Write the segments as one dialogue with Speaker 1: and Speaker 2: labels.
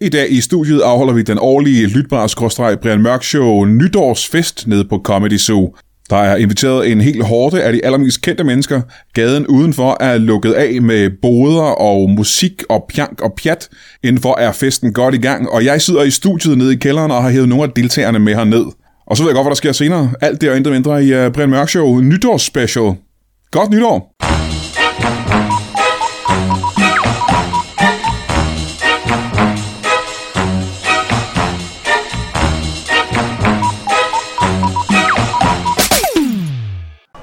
Speaker 1: I dag i studiet afholder vi den årlige lytbare Brian Mørk Show nytårsfest nede på Comedy Zoo. Der er inviteret en hel hårde af de allermest kendte mennesker. Gaden udenfor er lukket af med boder og musik og pjank og pjat. Indenfor er festen godt i gang, og jeg sidder i studiet nede i kælderen og har hævet nogle af deltagerne med herned. Og så ved jeg godt, hvad der sker senere. Alt det og intet mindre i øh, Brian Mørk Show nytårsspecial. Godt nytår!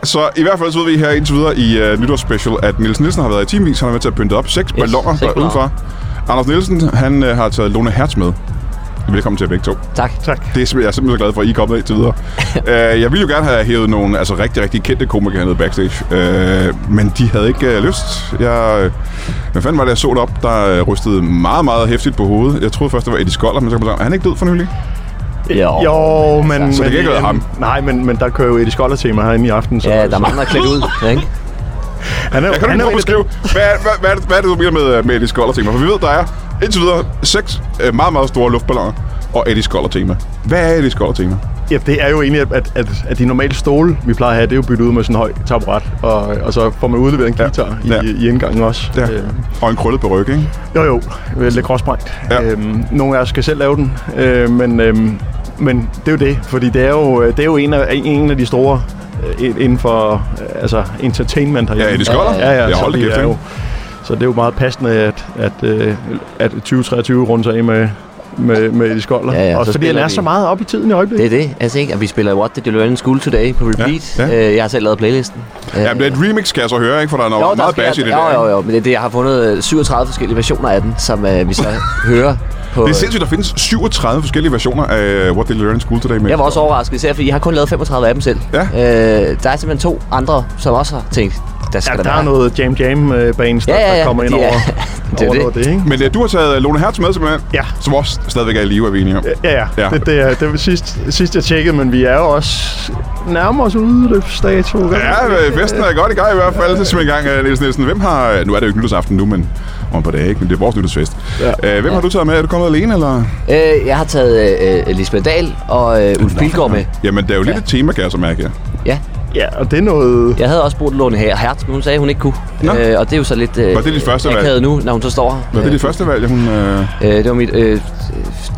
Speaker 1: Så i hvert fald så ved vi her indtil videre i uh, nytårsspecial, at Niels Nielsen har været i timevis. Han har været til at pynte op seks balloner
Speaker 2: seks
Speaker 1: der
Speaker 2: balloner.
Speaker 1: udenfor. Anders Nielsen, han uh, har taget Lone Hertz med. Velkommen til begge to.
Speaker 2: Tak.
Speaker 3: Tak.
Speaker 1: Det er sim- jeg er simpelthen så glad for, at I er kommet indtil videre. uh, jeg ville jo gerne have hævet nogle altså, rigtig, rigtig kendte komikere hernede backstage, uh, men de havde ikke uh, lyst. Jeg, øh, hvad fanden var det, jeg så op, der uh, rystede meget, meget hæftigt på hovedet. Jeg troede først, det var Eddie Skoller, men så kom jeg på tanke, er han ikke død for nylig?
Speaker 2: Jo.
Speaker 3: Jo, men...
Speaker 1: Så det
Speaker 3: men,
Speaker 1: kan ikke være ham?
Speaker 3: Nej, men, men der kører jo Eddie Skoller-tema herinde i aften. Så,
Speaker 2: Ja, der er mange, der er klædt ud, ikke?
Speaker 3: Han er, jo-
Speaker 1: Jeg kan
Speaker 3: han
Speaker 1: du
Speaker 3: er
Speaker 1: ikke
Speaker 3: jo
Speaker 1: prøve at
Speaker 3: en af
Speaker 1: beskrive, hvad, er- hvad, hvad, er det- hvad er det, du mener med, øh, med Eddie Skoller tema? For vi ved, der er indtil videre seks øh, meget, meget store luftballoner og Eddie Skoller tema. Hvad er Eddie Skoller tema?
Speaker 3: dem- Ja, det er jo egentlig, at, at, at de normale stole, vi plejer at have, det er jo byttet ud med sådan en høj taburet. Og, og så får man udleveret en
Speaker 1: Ja.
Speaker 3: guitar
Speaker 1: Ja.
Speaker 3: ja. i, i indgangen også.
Speaker 1: Ja.
Speaker 3: Øh,
Speaker 1: Og en krøllet på ryggen, ikke?
Speaker 3: Jo, jo. Øh, Lidt gråsprængt.
Speaker 1: Ja.
Speaker 3: Øhm, nogle af os skal selv lave den, øh, men, øhm, men det er jo det, fordi det er jo, øh, det er jo en, af, en af de store øh, inden for øh, altså, entertainment herhjemme.
Speaker 1: Ja, Eddie Skoller.
Speaker 3: Ja, ja,
Speaker 1: Jeg
Speaker 3: så
Speaker 1: holdt
Speaker 3: vi
Speaker 1: det
Speaker 3: er
Speaker 1: kæft,
Speaker 3: jo,
Speaker 1: ikke?
Speaker 3: Så det er jo meget passende, at, at, øh, at 2023 runder sig af med, med, med de skolder.
Speaker 2: Ja, ja,
Speaker 3: og
Speaker 2: så
Speaker 3: fordi han
Speaker 2: spiller
Speaker 3: er
Speaker 2: vi.
Speaker 3: så meget op i tiden i
Speaker 2: Det
Speaker 3: øjeblikket.
Speaker 2: er det. Altså, ikke? Og vi spiller What Did You Learn in School Today på repeat.
Speaker 1: Ja,
Speaker 2: Ja,
Speaker 1: ja.
Speaker 2: ja. Jeg har selv lavet playlisten.
Speaker 1: Ja, men det er et remix, kan jeg så høre, ikke? For der er noget meget
Speaker 2: skal-
Speaker 1: bass i det
Speaker 2: jo,
Speaker 1: der.
Speaker 2: Jo,
Speaker 1: ikke?
Speaker 2: jo, men det, er det, jeg har fundet øh, 37 forskellige versioner af den, som øh, vi så hører på...
Speaker 1: Det er sindssygt, der findes 37 forskellige versioner af øh, What They Learn in School Today. Med
Speaker 2: jeg var også overrasket, især fordi jeg har kun lavet 35 af dem selv.
Speaker 1: Ja.
Speaker 2: Øh, der er simpelthen to andre, som også har tænkt, der skal
Speaker 3: Ja, der
Speaker 2: være.
Speaker 3: er noget Jam Jam øh, bands, der,
Speaker 2: Ja, ja,
Speaker 3: der
Speaker 2: ja.
Speaker 3: kommer ind
Speaker 2: De er-
Speaker 3: over,
Speaker 2: det er
Speaker 3: over
Speaker 2: det.
Speaker 3: noget af det, ikke?
Speaker 1: Men øh, du har taget Lone Hertz med, simpelthen.
Speaker 3: Ja.
Speaker 1: Som også stadigvæk er i live, er vi enige om.
Speaker 3: Ja, ja.
Speaker 1: Ja.
Speaker 3: ja. Det, det, er, det var sidst, sidst, jeg tjekkede, men vi er jo også nærmere os udløbsdato.
Speaker 1: Ja, øh, festen er godt i gang i hvert fald. Så skal vi i gang, øh, Niels Nielsen. Hvem har... Nu er det jo ikke nytårsaften nu, men om på dag, ikke? Men det er vores nytårsfest.
Speaker 3: Ja.
Speaker 1: Øh, Hvem har du taget med? Er du kommet alene, eller?
Speaker 2: Øh, jeg har taget øh, øh, Lisbeth Dahl og øh, Ulf Pilgaard med.
Speaker 1: Jamen, der er jo lidt et tema, kan jeg så mærke her.
Speaker 2: Ja.
Speaker 3: Ja, og det er noget...
Speaker 2: Jeg havde også brugt Låne her Hertz, men hun sagde, at hun ikke kunne.
Speaker 1: Nå.
Speaker 2: Øh, og det er jo så lidt... Øh,
Speaker 1: Var det dit første valg?
Speaker 2: akavet nu, når hun så står her.
Speaker 1: Var det dit første valg, ja, hun... Øh...
Speaker 2: Øh, det var mit øh,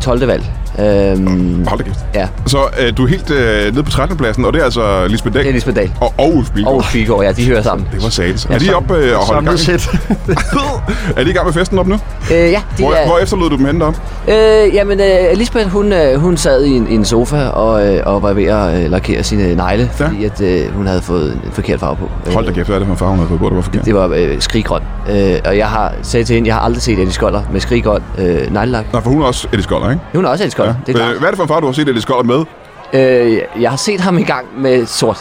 Speaker 2: 12. valg. Øhm,
Speaker 1: Hold da kæft.
Speaker 2: ja,
Speaker 1: Så øh, du er helt øh, nede på 13. pladsen, og det er altså Lisbeth Dahl
Speaker 2: det er Lisbeth Dahl.
Speaker 1: og, og Ulf Bilgaard.
Speaker 2: Og Figård, ja, de hører sammen.
Speaker 1: Det var sats. Er de oppe øh, og holder gang?
Speaker 3: Samlet set.
Speaker 1: er de i gang med festen op nu?
Speaker 2: Øh, ja, de
Speaker 1: Hvor, hvor
Speaker 2: er...
Speaker 1: efterlod du dem henne op?
Speaker 2: Øh, jamen, øh, Lisbeth, hun, øh, hun sad i en, i en sofa og, øh, og var ved at øh, lakere sine negle, fordi at, øh, hun havde fået en forkert farve på. Øh,
Speaker 1: Hold da kæft, hvad er det for en farve, hun havde fået på? Det var forkert.
Speaker 2: Det var øh, skriggrøn. Øh, og jeg har sagde til hende, jeg har aldrig set Eddie Skoller med skriggrøn øh, neglelak.
Speaker 1: Nej, for hun er også Eddie Skoller, ikke?
Speaker 2: Hun er også Eddie Skoller, ja. det er
Speaker 1: Øh,
Speaker 2: klart.
Speaker 1: Hvad er det for en farve, du har set Eddie Skoller med?
Speaker 2: Øh, jeg har set ham i gang med sort.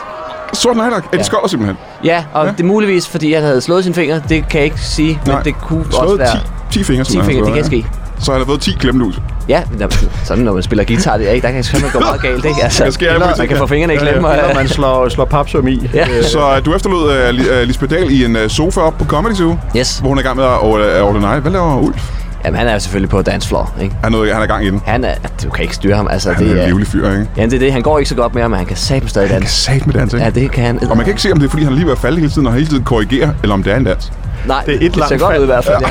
Speaker 1: Sort nejlak. Eddie
Speaker 2: Ja.
Speaker 1: Skoller simpelthen.
Speaker 2: Ja, og
Speaker 1: Ja.
Speaker 2: ja. det er muligvis, fordi han havde slået sine fingre. Det kan jeg ikke sige,
Speaker 1: Nej.
Speaker 2: men det kunne også
Speaker 1: Slået
Speaker 2: være...
Speaker 1: 10, 10 fingre,
Speaker 2: 10 fingre, det kan ske.
Speaker 1: Så han har fået 10 klemmelus.
Speaker 2: Ja, men der- sådan når man spiller guitar, det er ikke, der kan fandme gå meget galt, ikke? Altså,
Speaker 1: Der sker alt
Speaker 2: eller,
Speaker 1: muligt,
Speaker 2: man kan
Speaker 1: ja.
Speaker 2: få fingrene i klemme.
Speaker 3: Eller,
Speaker 2: og-
Speaker 3: man slår, slår papsøm i.
Speaker 2: Ja.
Speaker 3: Øh,
Speaker 1: Så øh, du efterlod øh, Li- øh, Lisbeth Dahl i en øh, sofa op på Comedy Zoo,
Speaker 2: Yes.
Speaker 1: hvor hun er i gang med at øh, ordinere. Hvad laver Ulf?
Speaker 2: Jamen, han er jo selvfølgelig på dancefloor, ikke?
Speaker 1: Han er, noget- han er i gang i den.
Speaker 2: Han er... Du kan ikke styre ham, altså.
Speaker 1: Han
Speaker 2: det
Speaker 1: er en
Speaker 2: er,
Speaker 1: livlig fyr, ikke?
Speaker 2: ja, det er det. Han går ikke så godt med ham, men han kan satme stadig
Speaker 1: Han kan
Speaker 2: danse.
Speaker 1: sat med dans, ikke?
Speaker 2: Ja, det kan han.
Speaker 1: Og man kan ikke se, om det er, fordi han er lige ved at falde hele tiden, og hele tiden korrigerer, eller om det er en dans.
Speaker 2: Nej,
Speaker 3: Det er et
Speaker 2: det ser
Speaker 3: langt
Speaker 2: godt
Speaker 3: fald.
Speaker 2: ud i hvert fald. Ja.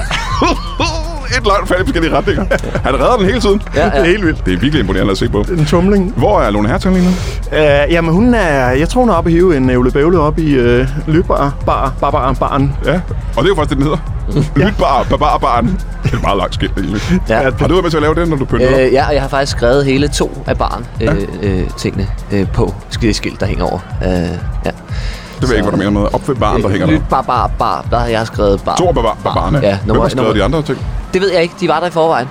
Speaker 1: Et langt fald i forskellige retninger. Han redder den hele tiden.
Speaker 2: Ja,
Speaker 3: Det er
Speaker 2: ja.
Speaker 3: helt vildt.
Speaker 1: Det er virkelig imponerende at se på.
Speaker 3: En tumling.
Speaker 1: Hvor er Lone Hertog lige nu?
Speaker 3: Uh, jamen, hun er... Jeg tror, hun er oppe at hive en ævle bævle op i uh, Lytbar. Bar, bar, bar, baren.
Speaker 1: Ja, og det er jo faktisk det, den hedder. Lytbar, barbarbarn. Det er et meget langt skilt, egentlig.
Speaker 2: Ja.
Speaker 1: Har du været med til at lave den, når du pyntede øh,
Speaker 2: Øh, ja, og jeg har faktisk skrevet hele to af barn øh, øh, tingene øh, på det skilt, der hænger over. Øh, ja.
Speaker 1: Det ved jeg ikke, hvad du mener med. Op ved barn, der hænger der.
Speaker 2: Lyt bar, bar, bar. Der har jeg skrevet bar.
Speaker 1: To af barbar- barbarerne.
Speaker 2: Ja,
Speaker 1: Hvem
Speaker 2: nummer,
Speaker 1: har skrevet
Speaker 2: nummer,
Speaker 1: de andre ting?
Speaker 2: Det ved jeg ikke. De var der i forvejen.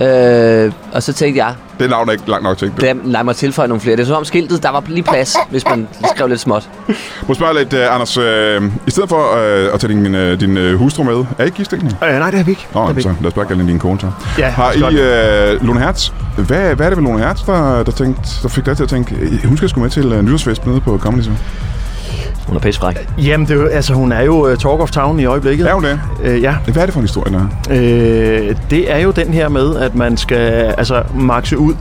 Speaker 2: Øh, og så tænkte jeg,
Speaker 1: Det navn er ikke langt nok til. ikke?
Speaker 2: lad, lad mig tilføje nogle flere. Det er som om skiltet, der var lige plads, hvis man skrev lidt småt.
Speaker 1: Må jeg spørge lidt, uh, Anders. Uh, I stedet for uh, at tage din, uh, din uh, hustru med, er I ikke gift egentlig?
Speaker 3: Uh, nej, det er vi ikke.
Speaker 1: Nå,
Speaker 3: det er vi
Speaker 1: så
Speaker 3: ikke.
Speaker 1: lad os bare kalde hende din kone, så.
Speaker 3: Ja,
Speaker 1: Har I
Speaker 3: skønt.
Speaker 1: uh, Lone Hertz? Hvad, hvad er det ved Lone øh, Hertz, der, der, tænkte, der fik dig til at tænke, øh, hun skal sgu med til uh, nytårsfest nede på Comedy Zoo?
Speaker 2: Hun er pissefræk.
Speaker 3: Jamen, det er jo, altså, hun er jo uh, talk of town i øjeblikket.
Speaker 1: Er hun det?
Speaker 3: Øh, ja.
Speaker 1: Hvad er det for en historie, der er?
Speaker 3: Øh, det er jo den her med, at man skal altså, makse ud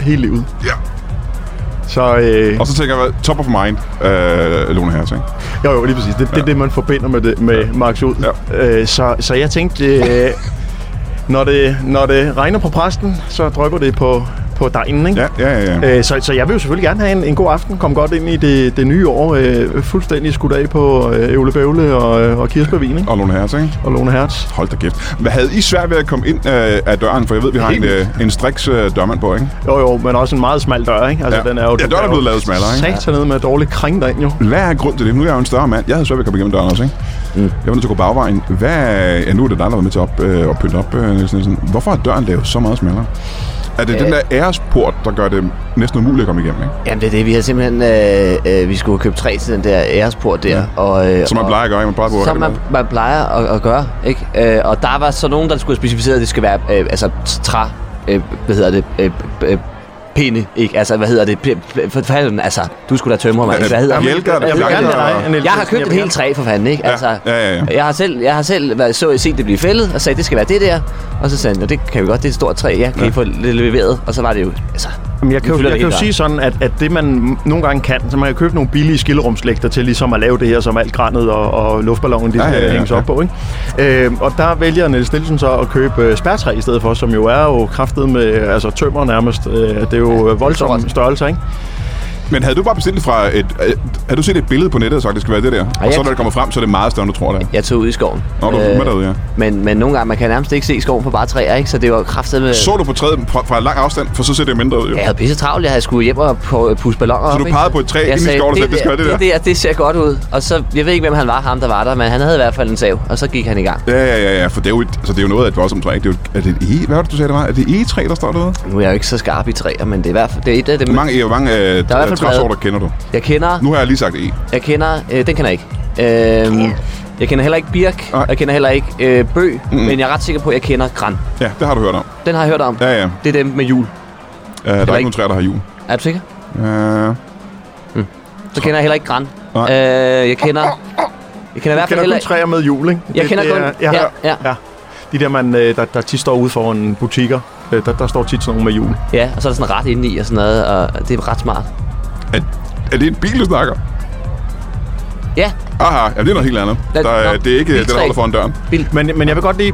Speaker 3: hele livet.
Speaker 1: Ja.
Speaker 3: Så øh,
Speaker 1: Og så tænker jeg, top of mind, øh, Lone Hertz, ikke?
Speaker 3: jo, jo, lige præcis. Det, det er det, man forbinder med, det, med Max ud.
Speaker 1: Ja.
Speaker 3: Øh, så, så jeg tænkte, øh, når, det, når det regner på præsten, så drypper det på, på dejen, ikke?
Speaker 1: Ja, ja, ja. ja.
Speaker 3: Øh, så, så jeg vil jo selvfølgelig gerne have en, en god aften. Kom godt ind i det, det nye år. Øh, fuldstændig skudt af på øh, Øvle Bøvle og, øh, og Kirsberg Vin, ikke?
Speaker 1: Og Lone Hertz, ikke?
Speaker 3: Og Lone Hertz.
Speaker 1: Hold da kæft. Hvad havde I svært ved at komme ind øh, af døren? For jeg ved, vi har en, øh, en striks øh, dørmand på, ikke?
Speaker 3: Jo, jo, men også en meget smal dør, ikke? Altså,
Speaker 1: Ja.
Speaker 3: den er jo...
Speaker 1: Ja, døren er blevet lavet smallere, ikke?
Speaker 3: Satan ned med dårlig kring derind, jo.
Speaker 1: Hvad er grund til det? Nu er jeg jo en større mand. Jeg havde svært ved at komme igennem døren også, ikke? Mm. Jeg var nødt til at gå bagvejen. Hvad, ja, nu er det dig, der var med til at op, øh, at pynte op, øh, Niels Nielsen. Hvorfor er døren lavet så meget smallere? Er det
Speaker 2: Øh.
Speaker 1: den der æresport, der gør det næsten umuligt at komme igennem, ikke?
Speaker 2: Jamen det er det, vi har simpelthen, øh, øh, vi skulle have købt træ til den der æresport der.
Speaker 1: Ja.
Speaker 2: Og, øh,
Speaker 1: Som man
Speaker 2: og,
Speaker 1: plejer at gøre, ikke? Man plejer at bruge
Speaker 2: Som man, man plejer at, at gøre, ikke? Øh, og der var så nogen, der skulle have specificeret, at det skal være øh, altså træ, øh, hvad hedder det, øh, øh, pinde, ikke? Altså, hvad hedder det? P- p- For fanden, altså, du skulle da tømme mig, ikke? Hvad hedder det?
Speaker 1: Bjælker, der
Speaker 3: Jeg vil gerne have dig, Niels
Speaker 2: Jeg har
Speaker 3: Nielsen.
Speaker 2: købt et
Speaker 3: vil
Speaker 2: helt træ for fanden, ikke? Altså,
Speaker 1: ja, ja, ja.
Speaker 2: Jeg har selv, jeg har selv været, så set det blive fældet, og sagde, det skal være det der. Og så sagde han, "Nå, det kan vi godt, det er et stort træ, ja, kan ja. I få det leveret? Og så var det jo, altså,
Speaker 3: Jamen, jeg kan,
Speaker 2: Nu
Speaker 3: jo,
Speaker 2: fylder
Speaker 3: jeg
Speaker 2: det
Speaker 3: kan jo
Speaker 2: hele
Speaker 3: sige sådan, at, at det man nogle gange kan, så man kan købe nogle billige skillerumslægter til ligesom at lave det her, som alt granet og, og luftballonen
Speaker 1: Ja,
Speaker 3: de ja,
Speaker 1: ja,
Speaker 3: ja,
Speaker 1: ja,
Speaker 3: hænges
Speaker 1: ja.
Speaker 3: op på. Ikke? Øhm, og der vælger Niels Nielsen så at købe øh, spærtræ i stedet for, som jo er jo kraftet med altså, tømmer nærmest. Øh, det er jo ja, voldsomme
Speaker 2: stort.
Speaker 3: størrelser, ikke?
Speaker 1: Men havde du bare bestilt det fra et... Øh, havde du set et billede på nettet og sagt, det skal være det der? Og
Speaker 2: jeg-
Speaker 1: så når det kommer frem, så er det meget større, end du tror, det er.
Speaker 2: jeg tog ud i skoven. Øh,
Speaker 1: Nå, du var med derude, ja.
Speaker 2: Men, men nogle gange, man kan nærmest ikke se skoven på bare træer, ikke? Så det var kraftet med...
Speaker 1: Så du på træet fra, fra lang afstand, for så ser det mindre ud, jo.
Speaker 2: Ja, jeg havde pisse travlt, jeg havde skulle hjem og på- pusse balloner
Speaker 1: Så du
Speaker 2: op, ikke?
Speaker 1: pegede på et træ
Speaker 2: Jeg
Speaker 1: inde i
Speaker 2: sagde,
Speaker 1: skoven og sagde, "Det skal det
Speaker 2: det,
Speaker 1: der."
Speaker 2: der, det ser godt ud. Og så, jeg ved ikke, hvem han var, ham der var der, men han havde i hvert fald en sav, og så gik han i gang.
Speaker 1: Ja, ja, ja, ja, for det er jo, et, altså, det er jo noget af et voldsomt træ. ikke? Det er, jo, er det et e? Hvad var det, du sagde, det var? Er det egetræ, der står derude?
Speaker 2: Nu er jeg jo ikke så skarp i træer, men det er i hvert fald det er et af dem,
Speaker 1: Hvor mange, e, hvor mange øh,
Speaker 2: hvert fald
Speaker 1: træsorter
Speaker 2: brede.
Speaker 1: kender du?
Speaker 2: jeg kender.
Speaker 1: Nu har jeg lige sagt e.
Speaker 2: Jeg kender, øh, den kender jeg ikke. Øhm, jeg kender heller ikke birk,
Speaker 1: Nej.
Speaker 2: og jeg kender heller ikke øh, bøg, mm. men jeg er ret sikker på, at jeg kender gran.
Speaker 1: Ja, det har du hørt om.
Speaker 2: Den har jeg hørt om.
Speaker 1: Ja, ja.
Speaker 2: Det er dem med jul.
Speaker 1: Uh, der er ikke
Speaker 2: ikke-
Speaker 1: nogen træer, der har jul.
Speaker 2: Er du sikker?
Speaker 1: Uh,
Speaker 2: Så kender jeg heller ikke gran.
Speaker 1: Nej.
Speaker 2: Øh, jeg kender... Jeg kender i hvert fald
Speaker 3: kender kun
Speaker 2: heller
Speaker 3: træer med hjul, ikke?
Speaker 2: Jeg kender kun-
Speaker 3: er-
Speaker 2: ja,
Speaker 3: ja, ja,
Speaker 2: ja.
Speaker 3: ja. ja. De der, man, øh, der, der tit står ude foran butikker, øh, der, der står tit sådan nogle med hjul.
Speaker 2: Ja, og så er der sådan ret inde i og sådan noget, og det er ret smart.
Speaker 1: er, er det et bil, du snakker?
Speaker 2: Ja,
Speaker 1: Aha, ja, det er noget helt andet.
Speaker 2: Lad-
Speaker 1: Der, er-
Speaker 2: nå,
Speaker 1: det er ikke øh, det, der
Speaker 2: biltræ.
Speaker 1: holder foran døren.
Speaker 2: vildt.
Speaker 3: Men, men jeg vil godt lige...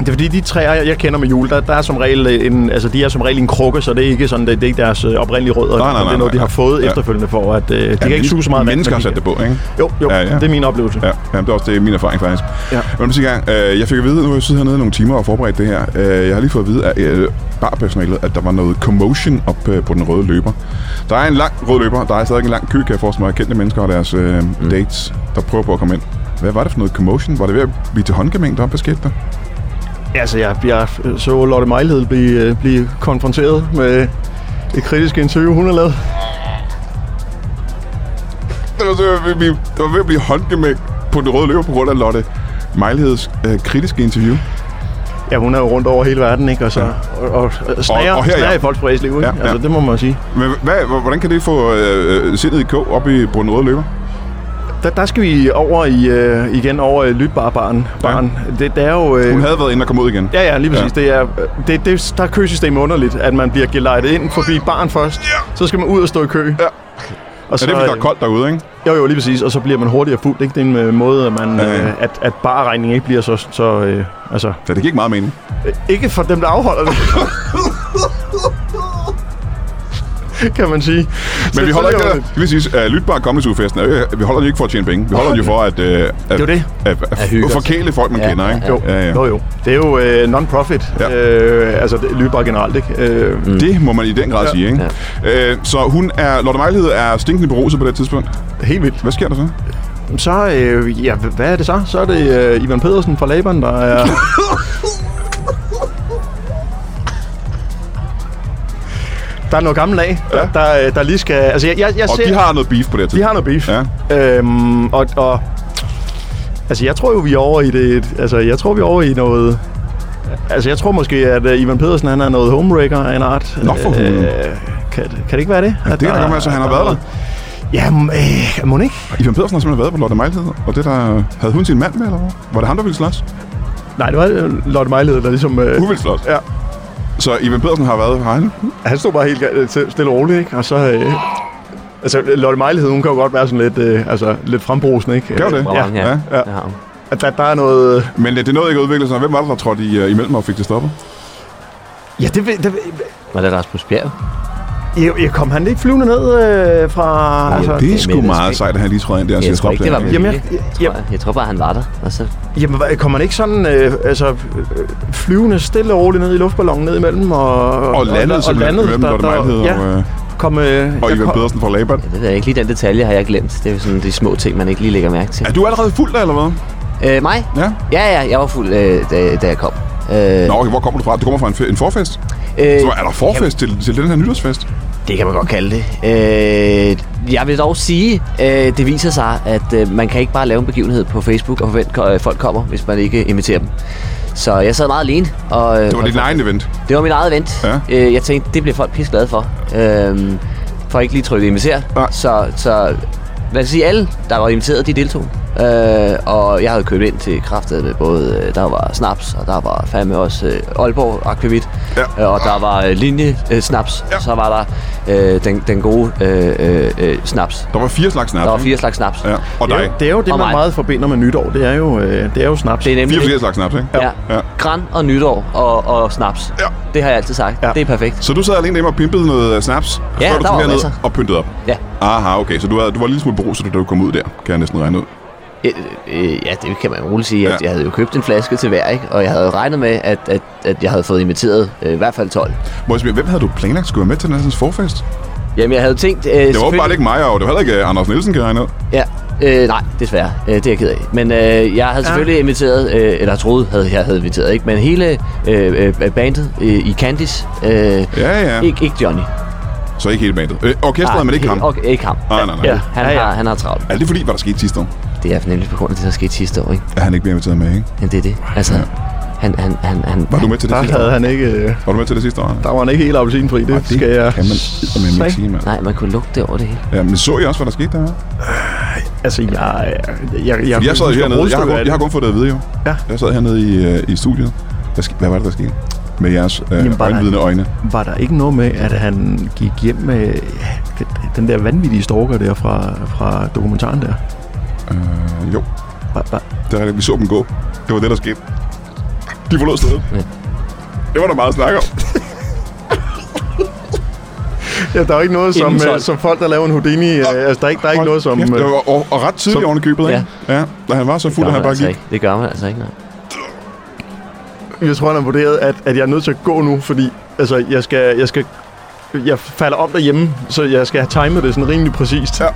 Speaker 3: Det er fordi, de træer, jeg jeg kender med jul, der, der er som regel en, altså, de er som regel en krukke, så det er ikke, sådan, det, det er ikke deres øh, oprindelige
Speaker 1: Nej,
Speaker 3: rødder.
Speaker 1: nej,
Speaker 3: det
Speaker 1: nej,
Speaker 3: er noget, de
Speaker 1: nej.
Speaker 3: har fået
Speaker 1: Ja.
Speaker 3: ja. efterfølgende for, at øh, de kan ikke suge så meget vand,
Speaker 1: Mennesker har
Speaker 3: men de-
Speaker 1: sat det på, ikke?
Speaker 3: Jo, jo,
Speaker 1: Ja, ja.
Speaker 3: det er min oplevelse.
Speaker 1: Ja, ja det er også det er min erfaring faktisk. Ja.
Speaker 3: Ja.
Speaker 1: Men hvis gang, øh, jeg fik at vide, nu har jeg siddet hernede i nogle timer og forberedt det her. Øh, jeg har lige fået at vide af øh, barpersonalet, at der var noget commotion op øh, på den røde løber. Der er en lang rød løber, der er stadig en lang kø, kan jeg forestille mig, af kendte mennesker og deres øh, mm. dates, der prøver på at komme ind. Hvad var det for noget commotion? Var det ved at blive til håndgemæng, der beskæftigede dig?
Speaker 3: Altså, jeg, jeg så Lotte Mejlhed blive, øh, blive konfronteret med et kritisk interview, hun har lavet.
Speaker 1: Det var, så ved at blive- det var ved at blive håndgemæng på den røde løber på grund af Lotte Mejligheds øh, kritiske interview.
Speaker 3: Ja, hun er jo rundt over hele verden, ikke? Og, så, og, og, og snager,
Speaker 1: Og-
Speaker 3: og,
Speaker 1: og
Speaker 3: og
Speaker 1: her, ja.
Speaker 3: snager i folks privatliv, ikke?
Speaker 1: Ja, ja.
Speaker 3: Altså, det må man sige.
Speaker 1: Men hvad, hvordan kan det få øh, øh, sindet i kog op i, på den røde løber?
Speaker 3: Der, der skal vi over i, øh, igen over i lytbarbaren. Barn. Det, det er jo... Øh,
Speaker 1: Hun havde været inde og kommet ud igen.
Speaker 3: Ja, ja, lige præcis. Ja. Det er, øh, det, det, der er køsystemet underligt, at man bliver gelejtet ind forbi barn først,
Speaker 1: Ja.
Speaker 3: så skal man ud og stå i kø.
Speaker 1: Ja.
Speaker 3: Og
Speaker 1: Er
Speaker 3: så,
Speaker 1: det, fordi der er koldt derude, ikke?
Speaker 3: Jo, jo, lige præcis. Og så bliver man hurtigere fuldt. Ikke? Det er en øh, måde, at, man,
Speaker 1: Ja, ja.
Speaker 3: øh, at, at barregningen ikke bliver så... så øh, altså,
Speaker 1: Ja, det giver ikke meget mening.
Speaker 3: øh, ikke for dem, der afholder det. kan man sige.
Speaker 1: Men vi holder ikke det
Speaker 3: det.
Speaker 1: der. Det vil sige, at lytbar kommelsugefesten, vi holder den jo ikke for at tjene penge. Vi holder den jo for at... Øh, at
Speaker 3: jo det.
Speaker 1: At, at,
Speaker 2: hygge
Speaker 1: at
Speaker 2: os.
Speaker 1: forkæle folk, man
Speaker 2: Ja,
Speaker 1: kender, ikke?
Speaker 3: Jo,
Speaker 1: Ja, ja.
Speaker 3: jo, jo. Det er jo øh, non-profit.
Speaker 1: Ja.
Speaker 3: Ja. Øh, altså, det, lyder bare generelt, ikke? Øh, mm.
Speaker 1: Det må man i den grad sige, ikke? Øh, så hun er... Lotte Mejlighed er stinkende beruset på det tidspunkt.
Speaker 3: Helt vildt.
Speaker 1: Hvad sker der så?
Speaker 3: Så, øh, ja, h- hvad er det så? Så er det øh, Ivan Pedersen fra Laban, der er... der er noget gammel af, ja. der, der, øh, der lige skal... Altså, jeg, jeg, jeg
Speaker 1: Og
Speaker 3: ser...
Speaker 1: de har noget beef på det her
Speaker 3: de
Speaker 1: tidspunkt.
Speaker 3: har noget beef.
Speaker 1: Ja.
Speaker 3: Øhm, og, og... Altså, jeg tror jo, vi er over i det... Altså, jeg tror, vi er over i noget... Altså, jeg tror måske, at øh, Ivan Pedersen, han er noget homebreaker af en art. Øh,
Speaker 1: Nå, for hulen.
Speaker 3: kan, kan det ikke være det?
Speaker 1: det kan da godt være, så han har været der.
Speaker 3: Ja, øh, må ikke?
Speaker 1: Ivan Pedersen har simpelthen været på Lotte Mejlhed, og det der... Havde hun sin mand med, eller hvad? Var det ham, der ville slås?
Speaker 3: Nej, det var øh, Lotte Mejlede, der ligesom... Øh,
Speaker 1: Hun ville slås?
Speaker 3: ja,
Speaker 1: Så Ivan Pedersen har været hejne?
Speaker 3: han stod bare helt øh, til- stille og roligt, ikke? Og så... Øh, altså, Lotte Mejlede, hun kan jo godt være sådan lidt, øh, altså, lidt frembrusende, ikke?
Speaker 1: Gør det?
Speaker 2: Ja, ja.
Speaker 1: ja.
Speaker 2: ja. ja.
Speaker 3: At der, der er noget...
Speaker 1: Men øh, det nåede ikke at udvikle sig. Hvem var det, der trådte i, uh, imellem og fik det stoppet?
Speaker 3: Ja, det, ved- det, ved-
Speaker 2: Var det Rasmus Bjerg?
Speaker 3: jeg, jeg kom han ikke flyvende ned øh, fra...
Speaker 1: Ja, altså, det er
Speaker 2: det
Speaker 1: sgu
Speaker 2: er
Speaker 1: meget
Speaker 2: lidt-
Speaker 1: sejt, at han lige trådte ind der og
Speaker 2: Jeg,
Speaker 1: siger
Speaker 2: jeg tror
Speaker 1: stop.
Speaker 2: ikke, det var
Speaker 1: der.
Speaker 2: med
Speaker 3: Jamen,
Speaker 2: vilje,
Speaker 3: jeg-
Speaker 2: tror jeg, jeg tror bare, han var der. Og så,
Speaker 3: Jamen, hvad- kom han ikke sådan øh, altså, øh, flyvende stille og roligt ned i luftballonen ned imellem? Og,
Speaker 1: og landede simpelthen imellem
Speaker 3: der-
Speaker 1: Lotte
Speaker 3: der-
Speaker 1: Mejlhed
Speaker 3: ja,
Speaker 1: og, øh,
Speaker 3: kom, øh,
Speaker 1: og
Speaker 3: jeg
Speaker 1: Ivan
Speaker 3: kom-
Speaker 1: Pedersen fra Laban.
Speaker 2: det ved jeg ikke. Lige den detalje har jeg glemt. Det er jo sådan de små ting, man ikke lige lægger mærke til.
Speaker 1: Er du allerede fuld der, eller hvad?
Speaker 2: Øh, mig?
Speaker 1: Ja.
Speaker 2: Ja, ja, jeg var fuld, øh, da, da jeg kom. Øh,
Speaker 1: Nå, okay, hvor kommer du fra? Du kommer fra en, fe- en forfest?
Speaker 2: øh,
Speaker 1: Så er der forfest til, til den her nytårsfest?
Speaker 2: Det kan man godt kalde det. Øh, jeg vil dog sige, øh, det viser sig, at øh, man kan ikke bare lave en begivenhed på Facebook og forvente, at øh, folk kommer, hvis man ikke inviterer dem. Så jeg sad meget alene. Og, øh,
Speaker 1: Det var dit egen event.
Speaker 2: det var min eget event.
Speaker 1: Ja.
Speaker 2: Øh, jeg tænkte, det bliver folk pisse glade for. Øh, for ikke lige trykke inviter.
Speaker 1: Nej.
Speaker 2: Så, så lad os sige, alle, der var inviteret, de deltog. Øh, og jeg havde købt ind til kraftet med både, øh, der var snaps, og der var fandme også øh, Aalborg Aquavit,
Speaker 1: Ja.
Speaker 2: øh, og der var øh, linje øh, snaps,
Speaker 1: Ja.
Speaker 2: og så var der øh, den, den gode øh, øh, øh, snaps.
Speaker 1: Der var fire slags snaps.
Speaker 2: Der var
Speaker 1: ikke?
Speaker 2: fire slags snaps.
Speaker 1: Ja. Og
Speaker 3: Det er,
Speaker 1: dig.
Speaker 3: jo, det er jo det,
Speaker 2: Og
Speaker 3: man
Speaker 2: mig.
Speaker 3: meget forbinder med nytår. Det er jo, øh, det er jo snaps.
Speaker 2: Det er nemlig
Speaker 1: Fire forskellige slags snaps, ikke?
Speaker 2: ja.
Speaker 1: Ja.
Speaker 2: Ja. Gran og nytår og, og snaps.
Speaker 1: Ja.
Speaker 2: Det har jeg altid sagt.
Speaker 3: Ja.
Speaker 2: Det er perfekt.
Speaker 1: Så du sad alene hjemme og pimpede noget øh, snaps,
Speaker 2: Ja,
Speaker 1: før du
Speaker 2: der
Speaker 1: kom
Speaker 2: var
Speaker 1: herned
Speaker 2: masser.
Speaker 1: og pyntede op?
Speaker 2: Ja.
Speaker 1: Aha, okay. Så du, havde, du var en lille smule beruset, da du kom ud der, kan jeg næsten regne ud.
Speaker 2: Øh, øh, ja, det kan man roligt sige. At
Speaker 1: Ja.
Speaker 2: ja. Jeg havde jo købt en flaske til hver, ikke? og jeg havde regnet med, at, at, at jeg havde fået inviteret øh, i hvert fald 12.
Speaker 1: Må jeg spørge, hvem havde du planlagt skulle være med til den her sådan, forfest?
Speaker 2: Jamen, jeg havde tænkt... Øh,
Speaker 1: Det var åbenbart ikke mig, og det var heller ikke øh, Anders Nielsen, kan jeg regne ud.
Speaker 2: Ja, øh, nej, desværre. Øh, det er jeg ked af. Men øh, jeg havde selvfølgelig inviteret, øh, eller troede, havde jeg havde inviteret, ikke? men hele øh, øh, bandet øh, i Candice. Øh, ja.
Speaker 1: Ja, ja.
Speaker 2: Ikke, ikke Johnny.
Speaker 1: Så ikke hele bandet. Øh, orkestret, men ikke ham.
Speaker 2: Okay, ikke ham.
Speaker 1: Nej, nej, nej.
Speaker 2: Ja, han,
Speaker 3: Ja, ja.
Speaker 2: Har, han har travlt.
Speaker 1: Er det fordi, hvad der skete sidste år?
Speaker 2: Det er nemlig på grund af det, der skete sidste år. Ikke?
Speaker 1: At han ikke blev inviteret med, ikke?
Speaker 2: Men det er det. Altså, han, han, han, han,
Speaker 1: Var du med til det
Speaker 3: Der
Speaker 1: sidste år?
Speaker 3: havde han ikke... Øh,
Speaker 1: Var du med til det sidste år?
Speaker 3: der var han ikke helt appelsinfri. Det,
Speaker 1: Og
Speaker 3: skal jeg...
Speaker 1: kan man eddermame ikke
Speaker 3: Sag-
Speaker 1: sige, mand.
Speaker 2: Nej, man kunne lugte det over det hele.
Speaker 1: altså. Ja, men så I også, hvad der skete der?
Speaker 3: Altså, jeg... Jeg, jeg, jeg,
Speaker 1: Jeg sad
Speaker 3: husker
Speaker 1: hernede. Jeg har,
Speaker 3: brudstykker
Speaker 1: kun,
Speaker 3: af
Speaker 1: jeg har
Speaker 3: det.
Speaker 1: kun fået det at vide, jo.
Speaker 3: Ja.
Speaker 1: Jeg sad hernede i, øh, i studiet. Hvad, sk- hvad var det, der skete? Med jeres
Speaker 3: Jamen,
Speaker 1: øh,
Speaker 3: bare-
Speaker 1: øjenvidende øjne.
Speaker 3: Var der ikke noget med, at han gik hjem med ja, den, den der vanvittige stalker der fra, fra dokumentaren der?
Speaker 1: Øh, jo,
Speaker 3: Var, var,
Speaker 1: det er rigtigt. Vi så dem gå. Det var det, der skete. De forlod stedet.
Speaker 2: Ja.
Speaker 1: Det var der meget at snakke om.
Speaker 3: Ja, der er jo ikke noget som, øh,
Speaker 2: Indensolgt.
Speaker 3: som folk, der laver en Houdini. Øh, altså, der er ikke, der er ikke
Speaker 1: Hold
Speaker 3: noget som...
Speaker 1: kæft,
Speaker 3: Øh,
Speaker 1: det var, og, og ret tidligt
Speaker 3: som-
Speaker 1: oven i købet, ikke? Ja. ja. Da han var så fuld, at han
Speaker 2: Gør man
Speaker 1: bare
Speaker 2: altså
Speaker 1: gik.
Speaker 2: ikke. Det gør man altså ikke. Nej.
Speaker 3: øh, jeg tror, han har vurderet, at, at jeg er nødt til at gå nu, fordi altså, jeg skal... Jeg skal jeg falder om derhjemme, så jeg skal have timet det sådan rimelig præcist.
Speaker 1: Ja.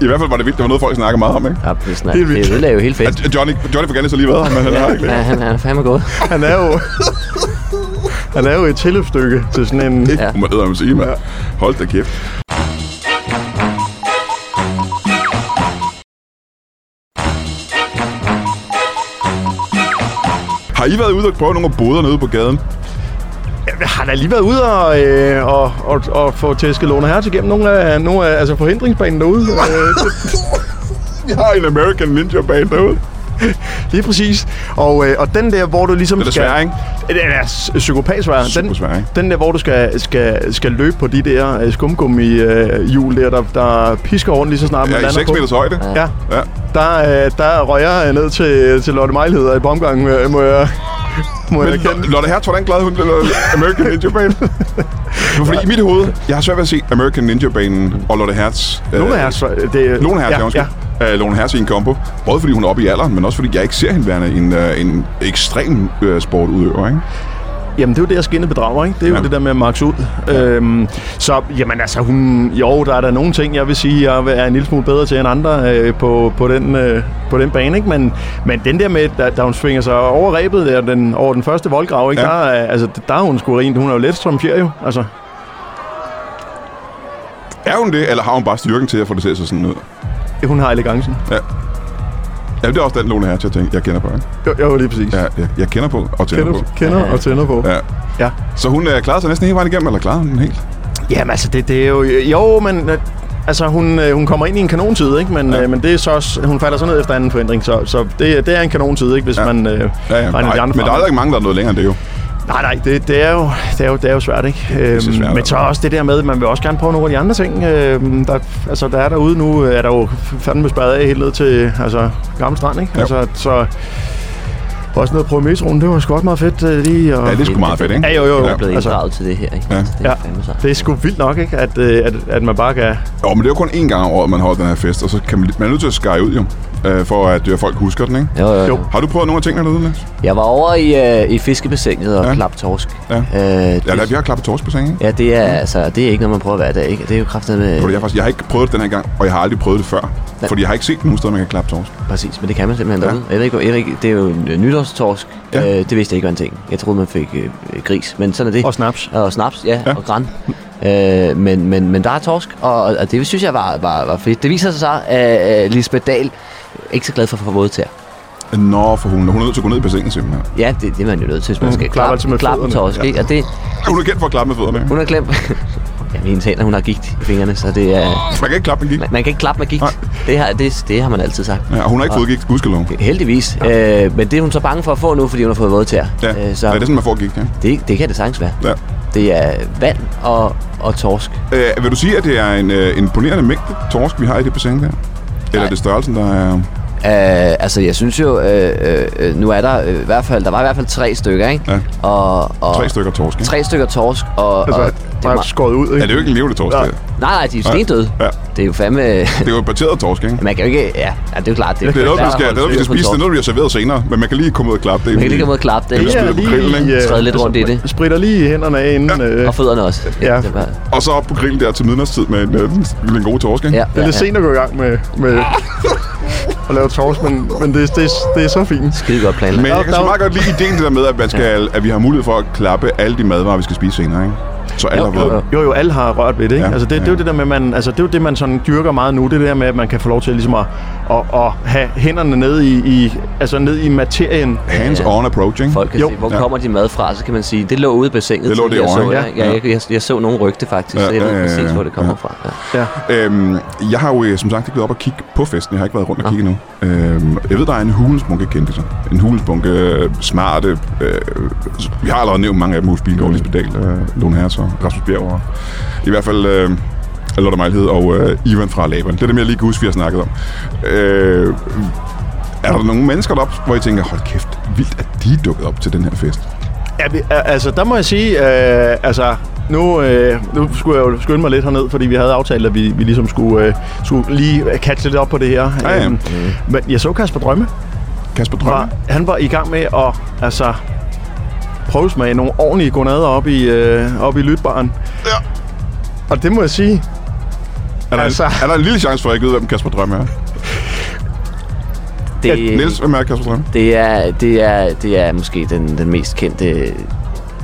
Speaker 1: I hvert fald var det vildt. Det var noget, folk snakkede meget om, ikke?
Speaker 2: Ja, det,
Speaker 3: Det er
Speaker 2: det,
Speaker 3: vildt.
Speaker 2: det ødelagde jo hele
Speaker 1: Ja,
Speaker 2: festen.
Speaker 1: Johnny, Johnny får gerne så lige været her, men han har ikke
Speaker 2: Ja, han, han er fandme gået.
Speaker 3: Han er jo... han er jo et tilløbsstykke til sådan en...
Speaker 1: Det
Speaker 2: Ja.
Speaker 1: kunne man æder sige, mand. Hold da kæft. Har I været ude og prøve nogle af boder nede på gaden?
Speaker 3: Jeg har da lige været ude og, øh, og, og, og få tæsket Lone Hertz igennem nogle af, nogle af altså forhindringsbanen derude. Øh,
Speaker 1: Jeg har en American Ninja bag derude.
Speaker 3: Lige præcis. Og, øh, og den der, hvor du ligesom
Speaker 1: Den er
Speaker 3: skal...
Speaker 1: svær, ikke?
Speaker 3: Den er s- psykopatsvær. Den,
Speaker 1: Supersvær, ikke?
Speaker 3: den der, hvor du skal, skal, skal løbe på de der øh, skumgummi øh, hjul der, der, der pisker rundt lige så snart man
Speaker 1: Ja, i
Speaker 3: lander
Speaker 1: 6
Speaker 3: på.
Speaker 1: meters højde.
Speaker 3: Ja,
Speaker 1: Ja.
Speaker 3: der, øh, der røg jeg øh, ned til, til Lotte Mejlheder i bomgangen, øh, må jeg... Må
Speaker 1: Men
Speaker 3: jeg kende.
Speaker 1: Lo- Lotte Hertz, hvordan glad hun blev American Ninja Banen? Det var fordi i mit hoved, jeg har svært ved at se American Ninja Banen og Lotte Hertz. øh,
Speaker 3: Lone Hertz, øh, det,
Speaker 1: Lone Hertz, ja, undskyld.
Speaker 3: ja.
Speaker 1: Ja. Lone Hertz i en kombo. Både fordi hun er oppe i alderen, men også fordi jeg ikke ser hende værende en, øh, en ekstrem øh, sportudøver, ikke?
Speaker 3: Jamen, det er jo det, at skinnet bedrager, ikke? Det er jo
Speaker 1: Ja.
Speaker 3: ja. det der med at maxe ud. Øhm, så, jamen altså, hun, jo, der er der nogle ting, jeg vil sige, jeg er en lille smule bedre til end andre øh, på, på, den, øh, på den bane, ikke? Men, men den der med, da, da hun svinger sig over rebet der, den, over den første voldgrav, ikke?
Speaker 1: Ja.
Speaker 3: Ja. Der, er- altså, der er hun sgu rent. Hun er jo let som fjer, jo. Altså,
Speaker 1: Er hun det, eller har hun bare styrken til at få det til at se sådan ud?
Speaker 3: hun har elegancen.
Speaker 1: Ja, det er også den Lone Hertz, jeg, tænker, jeg kender på, ikke?
Speaker 3: Jo, jo lige præcis.
Speaker 1: Ja, jeg, jeg kender på og tænder
Speaker 3: Kender,
Speaker 1: på.
Speaker 3: kender
Speaker 2: Ja, ja.
Speaker 3: og tænder på.
Speaker 1: Ja.
Speaker 3: ja.
Speaker 1: Så hun øh, klarede sig næsten hele vejen igennem, eller klarede hun den helt?
Speaker 3: Jamen altså, det, det er jo... Jo, men øh, Altså, hun, øh, hun kommer ind i en kanontid, ikke? Men, ja. øh, men det er så også, hun falder så ned efter anden forhindring, så, så det, det er en kanontid, ikke? Hvis ja. man øh, ja,
Speaker 1: Ja, ja, nej,
Speaker 3: de
Speaker 1: men
Speaker 3: andre
Speaker 1: der er
Speaker 3: fra.
Speaker 1: heller ikke mange, der er noget længere end det jo.
Speaker 3: Nej, nej, det, det, er jo, det, er jo, det er jo svært, ikke? Øhm,
Speaker 1: pisse svært,
Speaker 3: men
Speaker 1: altså.
Speaker 3: så også det der med, at man vil også gerne prøve nogle af de andre ting. Øhm, der, altså, der er derude nu, øh, er der jo fandme spadet af helt ned til altså, Gamle Strand, ikke?
Speaker 1: Jo.
Speaker 3: Altså, så også noget at prøve metroen, det var sgu også meget fedt øh, lige. Og,
Speaker 1: Ja, det er sgu meget fedt, ikke?
Speaker 3: Ja, jo, jo,
Speaker 2: Jeg
Speaker 3: jo.
Speaker 2: er blevet
Speaker 3: Altså-
Speaker 2: inddraget til det her, ikke?
Speaker 1: Ja.
Speaker 2: Altså, det er
Speaker 3: Ja.
Speaker 2: fandme sejt.
Speaker 3: det er sgu vildt nok, ikke? At, øh, at, at man bare kan...
Speaker 1: Jo, men det er jo kun én gang om året, man holder den her fest, og så kan man, man er nødt til at skære ud jo, øh, for at øh, folk husker den, ikke?
Speaker 2: Jo, jo, jo.
Speaker 3: Jo.
Speaker 1: Har du prøvet nogle af tingene derude, Niels?
Speaker 2: Jeg var over i, øh, i fiskebassinet og
Speaker 1: Ja.
Speaker 2: ja. klap torsk.
Speaker 1: Ja.
Speaker 2: Øh, det,
Speaker 1: Ja, der, vi har klappet torskbassin, ikke?
Speaker 2: ja, det er, altså, det er ikke noget, man prøver hver dag, ikke? Det er jo kraftigt med...
Speaker 1: Fordi jeg, faktisk, jeg har ikke prøvet det den her gang, og jeg har aldrig prøvet det før.
Speaker 2: Nej.
Speaker 1: Fordi jeg har ikke set nogen steder, man kan klappe torsk.
Speaker 2: Præcis, men det kan man simpelthen
Speaker 1: Ja.
Speaker 2: ja. derude. Jeg ved ikke, hvor- jeg ved ikke, det er jo en øh, nytårstorsk.
Speaker 1: Ja.
Speaker 2: Ja. Øh, det vidste jeg ikke var en ting. Jeg troede, man fik øh, øh, gris, men sådan er det.
Speaker 3: Og snaps.
Speaker 2: Og snaps, ja,
Speaker 1: Ja.
Speaker 2: ja. og gran. Øh, men, men, men der er torsk, og, og det synes jeg var, var, var fedt. Det viser sig så, at øh, Lisbeth Dahl er ikke så glad for at få våde tæer.
Speaker 1: Nå, for hun, hun er nødt til at gå ned i bassinet simpelthen.
Speaker 2: Ja, det, det er man jo nødt til, hvis man skal
Speaker 3: klapper altid
Speaker 2: klappe,
Speaker 3: med
Speaker 2: klappe
Speaker 3: fødderne.
Speaker 2: torsk.
Speaker 3: Ja.
Speaker 2: Ja. Ikke? Og det,
Speaker 1: Hun er kendt for at klappe med fødderne. ikke?
Speaker 2: hun har glemt... Jamen, hendes hænder, hun har gigt i fingrene, så det er...
Speaker 1: Man kan ikke klappe en gik.
Speaker 2: Man, man kan ikke klappe med gigt.
Speaker 1: Nej.
Speaker 2: Det har, det, det har man altid sagt.
Speaker 1: Ja, og hun har ikke fået gik, gudskelov.
Speaker 2: Heldigvis. Ja. Øh, men det er hun så bange for at få nu, fordi hun har fået våde tæer.
Speaker 1: Ja,
Speaker 2: Øh,
Speaker 1: så... ja, det er sådan, man får gik, ja.
Speaker 2: det, det kan det sagtens være.
Speaker 1: ja.
Speaker 2: Det er vand og, og torsk.
Speaker 1: Øh, vil du sige, at det er en øh, imponerende mængde torsk, vi har i det bassin der? Eller er det størrelsen, der er...
Speaker 2: Øh, altså, jeg synes jo, øh, øh, øh, nu er der øh, i hvert fald, der var i hvert fald tre stykker, ikke?
Speaker 1: Ja.
Speaker 2: Og, og,
Speaker 1: Tre stykker torsk, ikke?
Speaker 2: Tre stykker torsk, og...
Speaker 3: Altså,
Speaker 2: og
Speaker 3: der er
Speaker 2: meget-
Speaker 3: skåret ud, ikke?
Speaker 1: Ja, det er jo ikke en levende torsk,
Speaker 3: Ja.
Speaker 1: det, her.
Speaker 2: nej, nej, de er jo stendøde.
Speaker 1: Ja.
Speaker 2: Det er jo fandme...
Speaker 1: det er jo bateret torsk, ikke?
Speaker 2: Man kan jo ikke... Ja, ja det er jo klart. Det er,
Speaker 1: Det er noget,
Speaker 2: der
Speaker 1: vi skal, det er noget, vi skal
Speaker 2: styr på
Speaker 1: spise. Det er
Speaker 2: torsk.
Speaker 1: noget, vi har serveret senere. Men man kan lige komme ud og klappe det.
Speaker 2: Man kan lige komme ud og klappe det.
Speaker 1: Det er
Speaker 2: ikke?
Speaker 1: spillet på grillen, ikke?
Speaker 3: øh,
Speaker 2: Træde lidt rundt i det.
Speaker 3: Spritter lige hænderne af inden... Ja. Øh, det
Speaker 2: Og fødderne også.
Speaker 3: Ja.
Speaker 2: Det er bare,
Speaker 1: Og så op på grillen der til midnadstid med en, øh, med en god torsk, ikke?
Speaker 2: ja,
Speaker 3: er
Speaker 2: ja,
Speaker 3: lidt
Speaker 2: ja.
Speaker 3: sent at gå i gang med, med at lave torsk, men, men det, det, det er så fint.
Speaker 2: Skide godt planlagt.
Speaker 1: Men jeg
Speaker 3: Der-
Speaker 1: kan så
Speaker 3: der-
Speaker 1: meget godt lide ideen det der med, at, man skal, at vi har mulighed for at klappe alle de madvarer, vi skal spise senere, ikke? Så alle har
Speaker 3: Jo,
Speaker 1: fået
Speaker 3: jo,
Speaker 1: dem.
Speaker 3: jo, jo, alle har rørt ved det, ikke?
Speaker 1: Ja,
Speaker 3: Ja, altså, det, ja. det er
Speaker 1: ja.
Speaker 3: jo det der med, man, altså, det er jo det, man sådan dyrker meget nu, det der med, at man kan få lov til ligesom at, at, at have hænderne nede i, i, altså, ned i materien.
Speaker 1: Hands-on approach, ikke?
Speaker 2: Folk kan
Speaker 3: Jo.
Speaker 2: jo. se, hvor
Speaker 1: Ja.
Speaker 2: ja. kommer de mad fra, så kan man sige, det lå ude i bassinet.
Speaker 1: Det lå
Speaker 2: tidligere,
Speaker 1: derovre,
Speaker 2: så
Speaker 1: ikke?
Speaker 2: jeg, ja. jeg, jeg, jeg, jeg så nogle rygte faktisk,
Speaker 1: Ja,
Speaker 2: ja, så jeg
Speaker 1: ja,
Speaker 2: ved
Speaker 1: ja, ja,
Speaker 2: præcis, hvor det
Speaker 1: ja.
Speaker 2: kommer fra. Ja.
Speaker 3: Ja.
Speaker 1: Øhm, jeg har jo øh, som sagt ikke været op og kigge på festen. Jeg har ikke været rundt og kigge endnu. Øhm, jeg ved, der er en hulens bunke kendte En hulens bunke øh, smarte... Øh, vi har allerede nævnt mange af dem. Hus Bilgaard, Lisbeth Dahl, øh, Lone Hertz og Rasmus Bjerg. Og, I hvert fald... Øh, Lotte Mejlhed og øh, Ivan fra Laban. Det er dem, jeg lige kan huske, vi har snakket om. Øh, er der nogle mennesker deroppe, hvor I tænker, hold kæft, vildt, at de er dukket op til den her fest?
Speaker 3: Ja, vi, al- altså, der må jeg sige, øh, altså, nu, øh, nu skulle jeg jo skynde mig lidt herned, fordi vi havde aftalt, at vi, vi ligesom skulle, øh, skulle lige catche lidt op på det her.
Speaker 1: Ja, ja.
Speaker 3: Øhm, Men jeg så Kasper Drømme.
Speaker 1: Kasper Drømme?
Speaker 3: Var, han var i gang med at altså, prøve smage nogle ordentlige gonader op i, øh, op i lytbaren.
Speaker 1: Ja.
Speaker 3: Og det må jeg sige,
Speaker 1: Er der, altså...
Speaker 3: Altså-
Speaker 1: en, er der en lille chance for, at jeg ikke ved, hvem Kasper Drømme er?
Speaker 2: Det,
Speaker 1: Niels, hvem er Kasper Drømme?
Speaker 2: Det er, det er, det er måske den, den mest kendte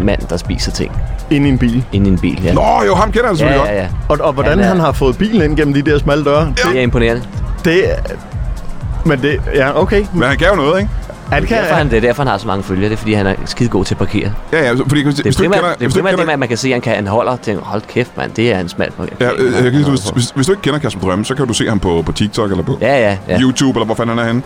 Speaker 2: mand, der spiser ting
Speaker 3: ind i en bil.
Speaker 2: inde i en bil. Ja.
Speaker 1: Nå, jo, ham kender jeg
Speaker 2: ja,
Speaker 1: selvfølgelig
Speaker 2: ja,
Speaker 1: godt.
Speaker 2: ja.
Speaker 3: Og, og hvordan
Speaker 2: Han
Speaker 3: han,
Speaker 2: er-
Speaker 3: han har fået bilen ind gennem de der smalle døre,
Speaker 2: Det er imponerende.
Speaker 3: det er... Men det... Ja, okay.
Speaker 1: Men han gav jo noget, ikke?
Speaker 3: Han
Speaker 2: Det er,
Speaker 3: kan,
Speaker 2: derfor, han, det er derfor, han har så mange følgere. Det er, fordi han er skide god til at parkere. Det
Speaker 1: Ja, ja, så- fordi hvis,
Speaker 2: er
Speaker 1: hvis du ikke
Speaker 2: primært
Speaker 1: kender...
Speaker 2: det, er
Speaker 1: hvis du ikke
Speaker 2: primært det med,
Speaker 1: kender-
Speaker 2: at man kan se, at han, kan, han holder og tænker, hold kæft, mand, det er en smal parkering.
Speaker 1: Ja, øh, jeg kan lige,
Speaker 2: Han
Speaker 1: hvis,
Speaker 2: holder på.
Speaker 1: hvis, hvis du ikke kender Kasper Drømme, så kan du se ham på, på TikTok eller på
Speaker 2: Ja, ja, ja.
Speaker 1: YouTube, eller hvor fanden han er henne.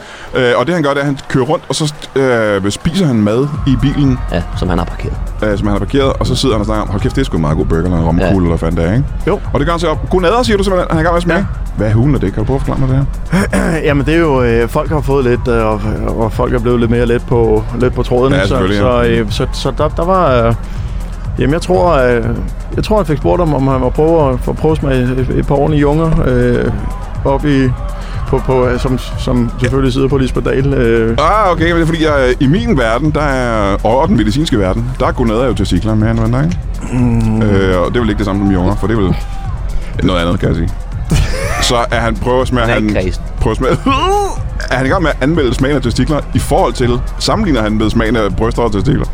Speaker 1: Øh, og det han gør, det er, at han kører rundt, og så øh, spiser han mad i bilen,
Speaker 2: ja, som han har parkeret.
Speaker 1: øh, som han har parkeret, og så sidder han og snakker om, hold kæft, det er sgu en meget god burger, eller en romkugle,
Speaker 2: Ja.
Speaker 1: eller hvad fanden det er, ikke?
Speaker 3: Jo.
Speaker 1: Og det gør han så op. Godnader, siger du simpelthen, han er i gang med at smage. Hvad er hulen af det? Kan du prøve at forklare mig det her?
Speaker 3: Jamen det er jo, øh, folk har fået lidt, øh, og, og folk er blevet lidt mere let på, let på tråden.
Speaker 1: Ja,
Speaker 3: så,
Speaker 1: selvfølgelig,
Speaker 3: så,
Speaker 1: ja.
Speaker 3: øh, så, så der, der var... Øh, jamen jeg tror, øh, jeg tror han fik spurgt om, om han var prøve at, for at prøve at smage et, et par ordentlige junger øh, op i... På, på, øh, som, som selvfølgelig sidder på Lisbeth Dahl. Øh,
Speaker 1: Ah, okay, men det er fordi, jeg, i min verden, der er, og den medicinske verden, der er godnader jo til cykler mere end hvad der, ikke? Mm. Øh, og det er vel ikke det samme som junger, for det er vel noget andet, kan jeg sige. Så er han prøver at smage...
Speaker 2: Han er
Speaker 1: Han,
Speaker 2: ikke kredsen.
Speaker 1: prøver at smage... er han i gang med at anmelde smagen af testikler i forhold til... Sammenligner han med smagen af bryster og testikler?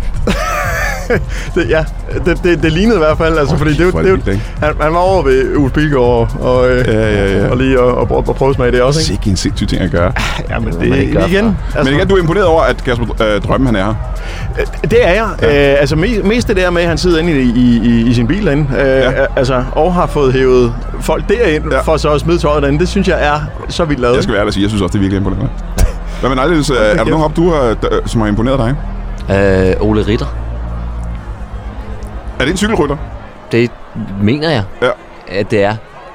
Speaker 3: det, ja, det, det, det lignede i hvert fald, altså, oh, fordi det, det,
Speaker 1: hvor er
Speaker 3: det,
Speaker 1: det
Speaker 3: det,
Speaker 1: vildt,
Speaker 3: det
Speaker 1: ikke?
Speaker 3: han, han var over ved Ulf Pilgaard og, og, øh,
Speaker 1: Ja, ja, ja.
Speaker 3: og lige og, og, og prøve smag det også, ikke?
Speaker 1: Sikke en sindssyg ting at gøre.
Speaker 3: Ja, men
Speaker 2: man
Speaker 3: det,
Speaker 2: ikke gøre
Speaker 3: igen,
Speaker 2: for.
Speaker 3: altså,
Speaker 1: Men igen, du er imponeret over, at Kasper øh, Drømme, han er her.
Speaker 3: Det er jeg. Ja. Øh, altså mest, mest det der med, at han sidder inde i, i, i, i sin bil derinde, øh, ja. altså, og har fået hævet folk derind,
Speaker 1: Ja.
Speaker 3: ja. for så at smide tøjet derinde. Det synes jeg er så vildt lavet.
Speaker 1: Jeg skal være ærlig og sige, jeg synes også, det er virkelig imponerende. Hvad med dig, Niels? Øh, Er der nogen op, du har, der, som har imponeret dig?
Speaker 2: Øh, Ole Ritter.
Speaker 1: Er det en cykelrytter?
Speaker 2: Det mener jeg,
Speaker 1: Ja.
Speaker 2: at det er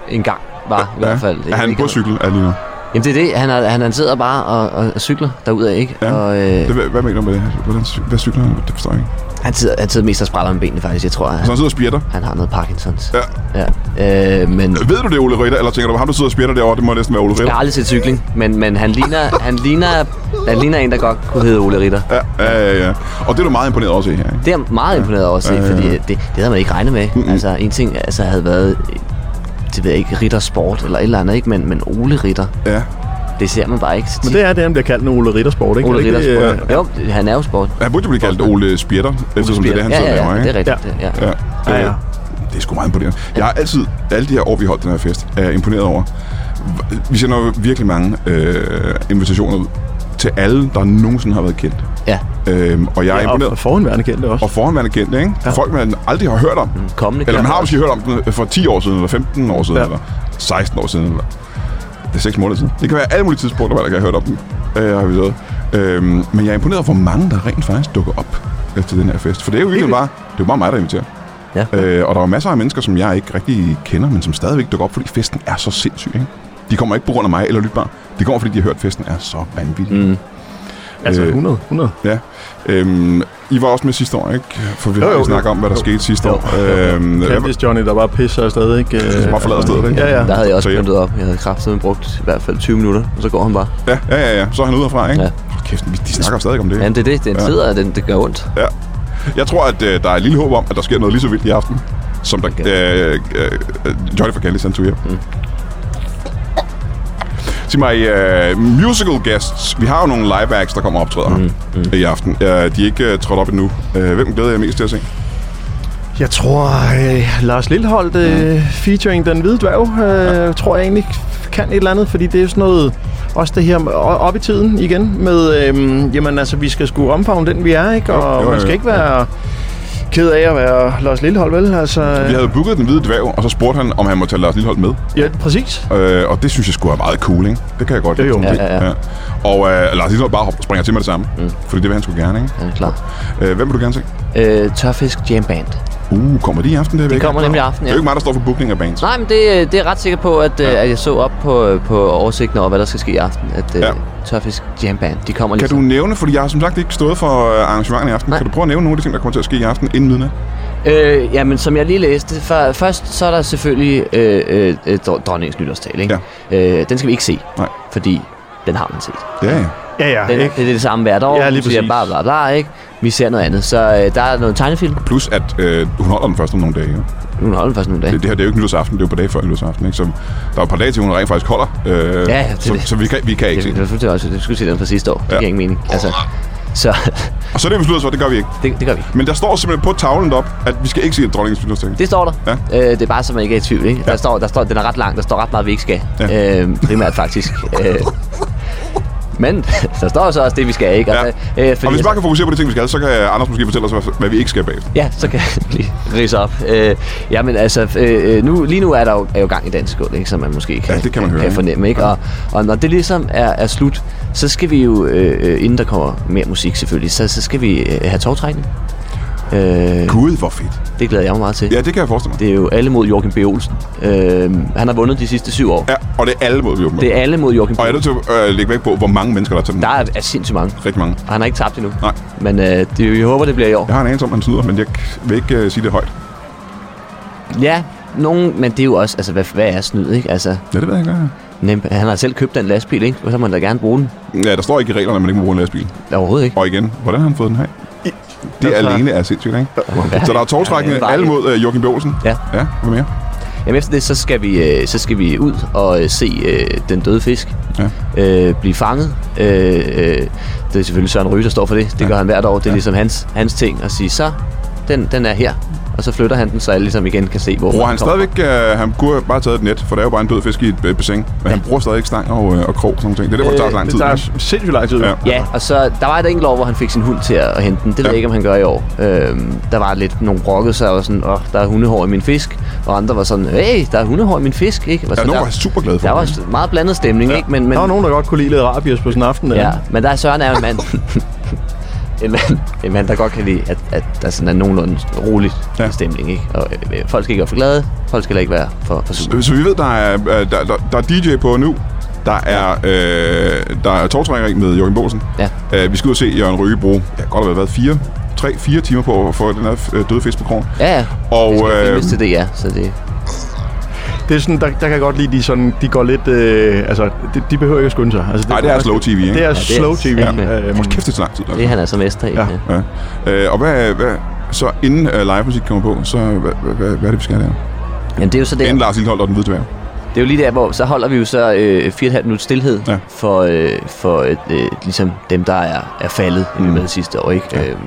Speaker 2: en gang var i hvert fald.
Speaker 1: Er han
Speaker 2: Ikke-
Speaker 1: på cykel er lige nu?
Speaker 2: Jamen det er det, han, er, han, han sidder bare og, og, og cykler derudad, ikke?
Speaker 1: Ja.
Speaker 2: Og, øh,
Speaker 1: Det, hvad, hvad mener du med det? Hvordan, cy- hvad cykler han? Det forstår jeg ikke.
Speaker 2: han, sidder, han sidder mest og spræller med benene faktisk, jeg tror,
Speaker 1: Så
Speaker 2: han,
Speaker 1: han sidder og spjætter.
Speaker 2: han har noget Parkinsons.
Speaker 1: Ja.
Speaker 2: ja. Øh, men
Speaker 1: Ved du det, Ole Ritter? Eller tænker du, ham du sidder og spjætter derovre, det må næsten være Ole
Speaker 2: jeg
Speaker 1: Ritter?
Speaker 2: har aldrig set cykling, men, men han, ligner, han, ligner, han ligner en, der godt kunne hedde Ole Ritter.
Speaker 1: Ja, ja, ja, ja. Og det er du meget imponeret over at se her, ikke?
Speaker 2: Det er jeg meget imponeret over at se,
Speaker 1: Ja, ja, ja.
Speaker 2: fordi øh, det, det havde man ikke regnet med.
Speaker 1: Mm-mm.
Speaker 2: Altså, en ting altså, havde været, øh, det ved jeg ikke, Ritter Sport eller et eller andet, ikke? Men, men Ole Ritter,
Speaker 1: Ja.
Speaker 2: det ser man bare ikke så tit.
Speaker 3: Men det er det, han bliver kaldt en Ole Rittersport, ikke?
Speaker 2: Ole
Speaker 3: Er det
Speaker 2: Ritter
Speaker 3: ikke det, øh,
Speaker 2: Sport. Jo, det- han er jo sport.
Speaker 1: Han burde jo blive kaldt Ole Spjætter, eftersom øh, det er det, han
Speaker 2: ja,
Speaker 1: sidder
Speaker 2: ja,
Speaker 1: og laver,
Speaker 2: ja,
Speaker 1: ikke?
Speaker 2: det er rigtigt. Ja. Det, ja.
Speaker 1: Ja,
Speaker 3: Ja, ja.
Speaker 1: Det er sgu meget imponerende. Jeg har altid, alle de her år, vi holdt den her fest, er jeg imponeret over. Vi sender jo virkelig mange øh, invitationer ud til alle, der nogensinde har været kendt.
Speaker 2: ja.
Speaker 1: Øhm, og jeg er
Speaker 3: øh,
Speaker 1: imponeret.
Speaker 3: og forhenværende kendte også.
Speaker 1: Og forhåndværende kendte, ikke? Ja. Folk, man aldrig har hørt om.
Speaker 2: Kommende
Speaker 1: Eller man har
Speaker 2: generation.
Speaker 1: måske hørt om den øh, for 10 år siden, eller 15 år siden, ja.
Speaker 3: Ja.
Speaker 1: eller 16 år siden, eller det er 6 måneder siden. Det kan være alle mulige tidspunkter, hvor der kan have hørt om dem. Øh, har vi lavet. Øhm, men jeg er imponeret over, hvor mange, der rent faktisk dukker op øh, til den her fest. For det er jo virkelig bare, det er jo bare mig, der inviterer.
Speaker 2: Ja.
Speaker 1: Øh, og der er jo masser af mennesker, som jeg ikke rigtig kender, men som stadigvæk dukker op, fordi festen er så sindssyg, ikke? De kommer ikke på grund af mig eller Lytbar. De kommer, fordi de har hørt, at festen er så vanvittig. Mm.
Speaker 3: altså
Speaker 1: øh,
Speaker 3: 100, 100.
Speaker 1: Ja. Øhm, I var også med sidste år, ikke? For vi har jo,
Speaker 3: Jo, jo,
Speaker 1: jo,
Speaker 3: jo.
Speaker 1: snakket om, hvad der
Speaker 3: Jo.
Speaker 1: skete sidste
Speaker 3: Jo.
Speaker 1: år. Øhm, hvad-
Speaker 3: Candice Johnny, der bare pisser afsted, ikke?
Speaker 1: Som bare forlader stedet, ikke?
Speaker 3: Ja, ja.
Speaker 2: Der havde jeg også
Speaker 1: Så ja.
Speaker 2: pyntet op. Jeg havde kraftedeme brugt i hvert fald 20 minutter, og så går han bare.
Speaker 1: Ja, ja, ja, ja. Så er han ude herfra, ikke? Ja.
Speaker 2: Ja.
Speaker 1: Kæft, vi- de snakker stadig om det.
Speaker 2: Ja,
Speaker 1: ikke?
Speaker 2: det er det. Den
Speaker 1: Ja.
Speaker 2: sidder, og den, det gør ondt.
Speaker 1: Ja. Jeg tror, at øh, der er et lille håb om, at der sker noget lige så vildt i aften, som der øh, øh, øh, Johnny for Candice, han tog hjem. Mm. Sig mig, øh, musical guests. Vi har jo nogle live acts, der kommer og optræder mm. Mm. i aften. Øh, de er ikke øh, trådt op endnu. Øh, hvem glæder jeg mest til at se?
Speaker 3: Jeg tror, øh, Lars Lilleholdt øh,
Speaker 1: Mm.
Speaker 3: featuring Den Hvide Dværg, øh, tror jeg egentlig kan et eller andet, fordi det er sådan noget, også det her med- o- op i tiden igen, med, øh, jamen altså, vi skal sgu omfavne den, vi er, ikke? Og
Speaker 1: jo,
Speaker 3: jo,
Speaker 1: jo,
Speaker 3: jo, man skal
Speaker 1: jo.
Speaker 3: ikke være ked af at være Lars Lillehold, vel? Altså,
Speaker 1: Vi
Speaker 3: øh,
Speaker 1: havde booket den hvide dværg, og så spurgte han, om han måtte tage Lars Lillehold med.
Speaker 3: ja, præcis.
Speaker 1: Øh, og det synes jeg skulle er meget cool, ikke? Det kan jeg godt
Speaker 3: Jo, jo.
Speaker 1: lide. sådan
Speaker 2: Ja,
Speaker 1: set.
Speaker 2: ja, ja.
Speaker 1: Og øh, Lars Lillehold bare hopper- springer til med det samme. Mm. Fordi det vil han skulle gerne, ikke?
Speaker 2: Han er klar.
Speaker 1: Øh, hvem vil du gerne se?
Speaker 2: Øh, tørfisk Jam Band.
Speaker 1: Uh, kommer de i aften? Det,
Speaker 2: De kommer nemlig i aften,
Speaker 1: ja. Det
Speaker 2: ja.
Speaker 1: er jo ikke mig, der står for booking af bands.
Speaker 2: Nej, men det, øh, det er jeg ret sikker på, at, ja. at jeg så op på, øh, på oversigten over, hvad der skal ske i aften. At
Speaker 1: Ja.
Speaker 2: ja. Tørfisk Jam Band, de kommer
Speaker 1: Kan
Speaker 2: lige
Speaker 1: du nævne, fordi jeg har som sagt ikke stået for øh, arrangementet i aften.
Speaker 2: Nej.
Speaker 1: Kan du prøve at nævne nogle af de ting, der kommer til at ske i aften inden midnat?
Speaker 2: Øh, jamen, som jeg lige læste, for, først så er der selvfølgelig øh, øh, øh, dr- dronningens nytårstal, ikke? Ja. Øh, den skal vi ikke se,
Speaker 1: Nej.
Speaker 2: fordi den har man set.
Speaker 1: Ja, ja.
Speaker 3: Ja, ja.
Speaker 2: Den, det
Speaker 3: Ikke?
Speaker 2: er det samme hvert år,
Speaker 3: Ja, lige
Speaker 2: hun siger
Speaker 3: præcis.
Speaker 2: bla bla bla, ikke? Vi ser noget andet. Så øh, der er noget tegnefilm.
Speaker 1: Plus, at øh, hun holder den først om nogle dage. Jo.
Speaker 2: Nu holder den først nogle dage.
Speaker 1: Det, det her det er jo ikke nytårsaften, det er jo på dage før nytårsaften. Ikke? Så der er et par dage til, hun rent faktisk holder. Øh,
Speaker 2: ja, det er
Speaker 1: så,
Speaker 2: det.
Speaker 1: så, vi kan, vi kan ikke
Speaker 2: Det,
Speaker 1: se
Speaker 2: det,
Speaker 1: det.
Speaker 2: det, det, det, også, det skulle se den fra sidste år. Det
Speaker 1: Ja.
Speaker 2: giver ingen mening. Altså, så
Speaker 1: Og så er det besluttet så, det gør vi ikke.
Speaker 2: det, det gør vi.
Speaker 1: Men der står simpelthen på tavlen op, at vi skal ikke se dronningens nytårsdag.
Speaker 2: Det står der.
Speaker 1: Ja.
Speaker 2: Øh, det er bare, så man ikke er i tvivl. Ikke? Ja. Der står, der står, den er ret lang. Der står ret meget, vi ikke skal.
Speaker 1: Ja.
Speaker 2: Ja. Øh, primært faktisk. øh, men der står så også det, vi skal. Ikke?
Speaker 1: Ja.
Speaker 2: Altså, øh, fordi,
Speaker 1: og hvis vi bare kan fokusere på de ting, vi skal, så kan Anders måske fortælle os, hvad- hvad vi ikke skal bag.
Speaker 2: Ja, så kan jeg lige rise op. Øh, jamen altså, øh, øh, nu, lige nu er der jo, er jo gang i dansk gulv, ikke, som man måske kan,
Speaker 1: Ja, det kan man høre,
Speaker 2: kan
Speaker 1: ikke?
Speaker 2: fornemme. Ikke? Og, og når det ligesom er, er slut, så skal vi jo, øh, øh, inden der kommer mere musik selvfølgelig, så, så skal vi øh, have togtrækning. Øh,
Speaker 1: Gud, hvor fedt.
Speaker 2: det glæder jeg mig meget til.
Speaker 1: Ja, det kan jeg forestille mig.
Speaker 2: Det er jo alle mod Joachim B. Olsen. Øh, han har vundet de sidste syv år.
Speaker 1: Ja, og det er alle måder, vi åbner.
Speaker 2: Det er alle mod Joachim B.
Speaker 1: Og jeg er nødt til at øh, lægge væk på, hvor mange mennesker, der er til den.
Speaker 2: Der er, er sindssygt mange,
Speaker 1: Rigtig mange.
Speaker 2: og han har ikke tabt endnu.
Speaker 1: Nej.
Speaker 2: Men øh, det, vi håber, det bliver i år.
Speaker 1: Jeg har en anelse om, at han snyder, men jeg k- vil ikke øh, sige det højt.
Speaker 2: Ja, nogen, men det er jo også, altså hvad, hvad er snyd, ikke? Altså,
Speaker 1: Ja, det ved jeg ikke.
Speaker 2: nem, han har selv købt den lastbil, ikke? Og så må han da gerne bruge den.
Speaker 1: Ja, der står ikke i reglerne, at man ikke må bruge en lastbil.
Speaker 2: Overhovedet ikke.
Speaker 1: Og igen, hvordan har han fået den her? Det
Speaker 3: Altså-
Speaker 1: alene er sindssygt, ikke?
Speaker 2: Ja.
Speaker 1: Så der er togtrækkende
Speaker 2: Ja, det er
Speaker 1: alle
Speaker 2: dejligt.
Speaker 1: mod øh, Joachim B. Olsen.
Speaker 2: Ja.
Speaker 1: Ja, hvad mere?
Speaker 2: Jamen efter det, så skal vi, øh, så skal vi ud og øh, se øh, den døde fisk
Speaker 1: Ja.
Speaker 2: øh, blive fanget. Øh, øh, det er selvfølgelig Søren Ryge, der står for det. Det gør han hvert år. Det er ligesom hans, hans ting at sige, så den, den er her. Og så flytter han den, så alle ligesom igen kan se, hvor
Speaker 1: Bruger han stadigvæk... Øh, han kunne have bare taget et net, for der er jo bare en død fisk i et øh, bassin. Men ja. han bruger stadig stang og, øh, og krog og sådan noget. Det er derfor, det tager så lang tid.
Speaker 3: Øh, Det
Speaker 1: ikke?
Speaker 3: tager sindssygt lang tid.
Speaker 1: Ja.
Speaker 3: Ja.
Speaker 2: Ja, og så der var et enkelt år, hvor han fik sin hund til at hente den. Det ved
Speaker 1: Ja.
Speaker 2: jeg ikke, om han gør i år. Øhm, der var lidt nogle brokkede sig og sådan, åh, der er hundehår i min fisk. Og andre var sådan, hey, der er hundehår i min fisk. Ikke? Og
Speaker 1: Ja,
Speaker 2: så
Speaker 1: nogen
Speaker 2: der,
Speaker 1: var superglade for
Speaker 2: Der
Speaker 1: det.
Speaker 2: var meget blandet stemning, ja. ikke? Men, men,
Speaker 3: Der var nogen, der godt kunne lide lidt rabies på sådan en aften.
Speaker 2: Ja, men der er Søren er jo en mand. en mand. En mand, der godt kan lide, at, at der sådan er nogenlunde rolig
Speaker 1: Ja.
Speaker 2: ja. stemning, ikke? Og øh, folk skal ikke være for glade. Folk skal heller ikke være for, for sure.
Speaker 1: Så vi ved, der er, øh, der, der, der er DJ på nu. Der er, øh, der er tårtrækkeri med Jørgen Båsen.
Speaker 2: Ja.
Speaker 1: Øh, vi skal ud og se Jørgen Røge bruge, ja, godt har været fire, tre, fire timer på at få den her øh, døde fisk på krogen.
Speaker 2: Ja, ja.
Speaker 1: Og,
Speaker 2: det skal
Speaker 1: øh,
Speaker 2: øh, til det, ja. Så det,
Speaker 3: Det er sådan, der, der kan jeg godt lide, de, sådan, de går lidt... Øh, altså, de, de behøver ikke at skynde sig. Altså,
Speaker 1: Nej, det er slow TV, ikke?
Speaker 3: Det er, ja, det er slow TV.
Speaker 2: Ja.
Speaker 3: Øhm,
Speaker 1: Hold kæft, det er så lang tid. Altså.
Speaker 2: det er han altså mester i.
Speaker 3: Ja.
Speaker 2: Ja.
Speaker 1: Ja. Øh, og hvad, hvad, så inden øh, live musik kommer på, så hvad, hvad, hvad, hvad er det, vi skal der?
Speaker 2: Jamen, det er jo så det.
Speaker 1: Inden Lars Lilleholdt og den hvide dværg.
Speaker 2: Det er jo lige der, hvor så holder vi jo så øh, 4,5 minutter stillhed
Speaker 1: Ja.
Speaker 2: ja. for, øh, for øh, øh, ligesom dem, der er, er faldet mm. med sidste år. Ikke? Ja. Øhm,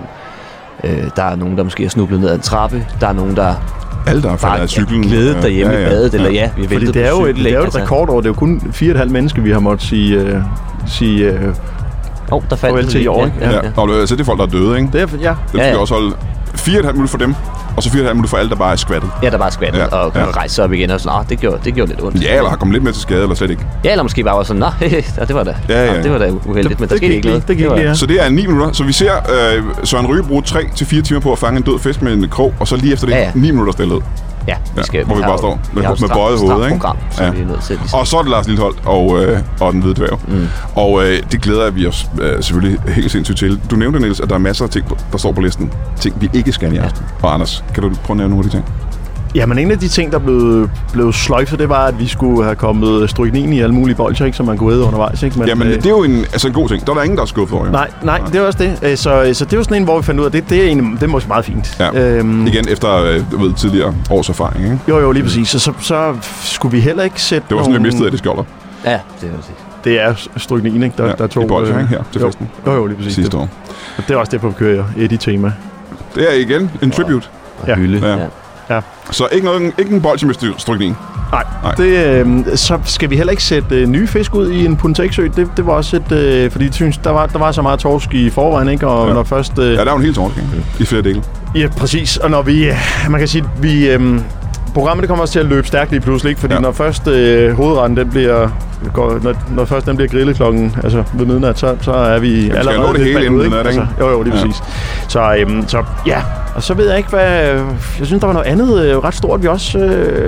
Speaker 2: øh, der er nogen, der måske er snublet ned ad en trappe. Der er nogen, der
Speaker 1: Alle, der er faldet
Speaker 2: bare
Speaker 1: af cyklen.
Speaker 2: er glædet derhjemme ja, ja, i badet. Eller ja, vi har
Speaker 3: Fordi
Speaker 2: ventet
Speaker 3: det er
Speaker 2: på altså.
Speaker 3: jo et,
Speaker 2: cykel,
Speaker 3: det er
Speaker 2: ikke?
Speaker 3: jo et rekordår. Det er jo kun 4,5 mennesker, vi har måttet sige... Øh, sige øh,
Speaker 2: Altså, oh, der faldt
Speaker 3: Farvel
Speaker 2: den
Speaker 3: til i
Speaker 2: lige.
Speaker 3: år, ikke?
Speaker 2: Ja, ja,
Speaker 1: Ja.
Speaker 2: ja.
Speaker 1: Og øh, så er det folk, der er døde, ikke?
Speaker 3: det er, ja.
Speaker 1: Den
Speaker 2: Ja,
Speaker 1: skal
Speaker 2: ja.
Speaker 1: også holde 4,5 minutter for dem, og så 4,5 minutter for alle, der bare er skvattet.
Speaker 2: ja, der bare skvattet
Speaker 1: Ja,
Speaker 2: ja, og,
Speaker 1: ja.
Speaker 2: og rejse sig op igen og sådan, ah, det gjorde, det gjorde lidt ondt.
Speaker 1: Ja, eller har kommet lidt med til skade, eller slet ikke.
Speaker 2: ja eller måske bare var sådan, nej, det var da,
Speaker 1: Ja,
Speaker 2: ja,
Speaker 1: ja.
Speaker 2: ja. det var da uheldigt, men der
Speaker 3: det
Speaker 2: skete
Speaker 3: gik
Speaker 2: ikke noget.
Speaker 3: lige. Det gik
Speaker 2: var-
Speaker 3: lige, ja.
Speaker 1: Så det er 9 minutter. Så vi ser øh, Søren Ryge bruge 3-4 timer på at fange en død fisk med en krog, og så lige efter det
Speaker 2: Ja, ja.
Speaker 1: 9 minutter stillhed.
Speaker 2: Ja,
Speaker 1: Ja,
Speaker 2: vi skal,
Speaker 1: hvor vi
Speaker 2: har
Speaker 1: bare
Speaker 2: jo-
Speaker 1: står med-
Speaker 2: har jo
Speaker 1: med
Speaker 2: stramt-
Speaker 1: bøjet
Speaker 2: stramt
Speaker 1: hoved, ikke?
Speaker 2: program, så
Speaker 1: Ja.
Speaker 2: vi er nødt til ligesom...
Speaker 1: Og så er det Lars Lilleholdt og, øh, og den hvide dværg. Mm. Og øh, det glæder vi os øh, selvfølgelig helt sindssygt til. Du nævnte, Niels, at der er masser af ting, der står på listen. Ting, vi ikke skal i aften. Og Anders, kan du prøve at nævne nogle af de ting?
Speaker 3: Jamen, en af de ting, der blev, blev sløjfet, det var, at vi skulle have kommet stryknin i alle mulige bolcher, ikke, som man kunne æde undervejs. Ikke? Men,
Speaker 1: Jamen,
Speaker 3: øh,
Speaker 1: det er jo en, altså en god ting. Der er der ingen, der er skuffet over. jo.
Speaker 3: Nej, nej, det er også det. Øh, Så, så det er jo sådan en, hvor vi fandt ud af, det, det er egentlig, det er måske meget fint.
Speaker 1: Ja. Øhm. Igen efter øh, du ved, tidligere års erfaring. Ikke?
Speaker 3: Jo, jo, lige præcis. Så, så, så skulle vi heller ikke sætte
Speaker 1: Det var sådan, vi
Speaker 3: nogle...
Speaker 1: mistede af det skjolder
Speaker 2: Ja, det er jo det.
Speaker 3: Det er stryknin, ikke? Der,
Speaker 1: Ja,
Speaker 3: ja, der tog... øh,
Speaker 1: i bolcher, ikke? Her til
Speaker 3: jo,
Speaker 1: festen.
Speaker 3: Jo, jo, lige præcis.
Speaker 1: sidste
Speaker 3: Det,
Speaker 1: år.
Speaker 3: det, er også derfor, vi kører et i tema.
Speaker 1: Det er igen en tribute.
Speaker 2: Og
Speaker 3: Ja.
Speaker 2: hylde.
Speaker 1: Ja.
Speaker 2: Ja.
Speaker 1: Så ikke, noget, ikke en bolsje med stry- strykning.
Speaker 3: Nej,
Speaker 1: Nej.
Speaker 3: Det, øh, så skal vi heller ikke sætte øh, nye fisk ud i en Punteksø. Det, det var også et... Øh, fordi de synes, der var, der var så meget torsk i forvejen, ikke? Og
Speaker 1: Ja.
Speaker 3: ja. når først... Øh,
Speaker 1: Ja, der er jo en hel tårn, I flere dele.
Speaker 3: Ja, præcis. Og når vi, øh, man kan sige, at vi, øhm, programmet det kommer også til at løbe stærkt lige pludselig, ikke? fordi
Speaker 1: Ja.
Speaker 3: ja. når først øh, hovedretten den bliver, går, når, når først den bliver grillet klokken altså ved midnat, så, så er vi Jamen,
Speaker 1: jeg
Speaker 3: allerede
Speaker 1: nå det
Speaker 3: lidt
Speaker 1: hele
Speaker 3: bagud,
Speaker 1: inden
Speaker 3: ikke? Altså,
Speaker 1: midnat, ikke?
Speaker 3: jo, jo, lige
Speaker 1: Ja.
Speaker 3: ja. præcis. Så, øhm, så ja, og så ved jeg ikke, hvad... øh, Jeg synes, der var noget andet øh, ret stort, vi også...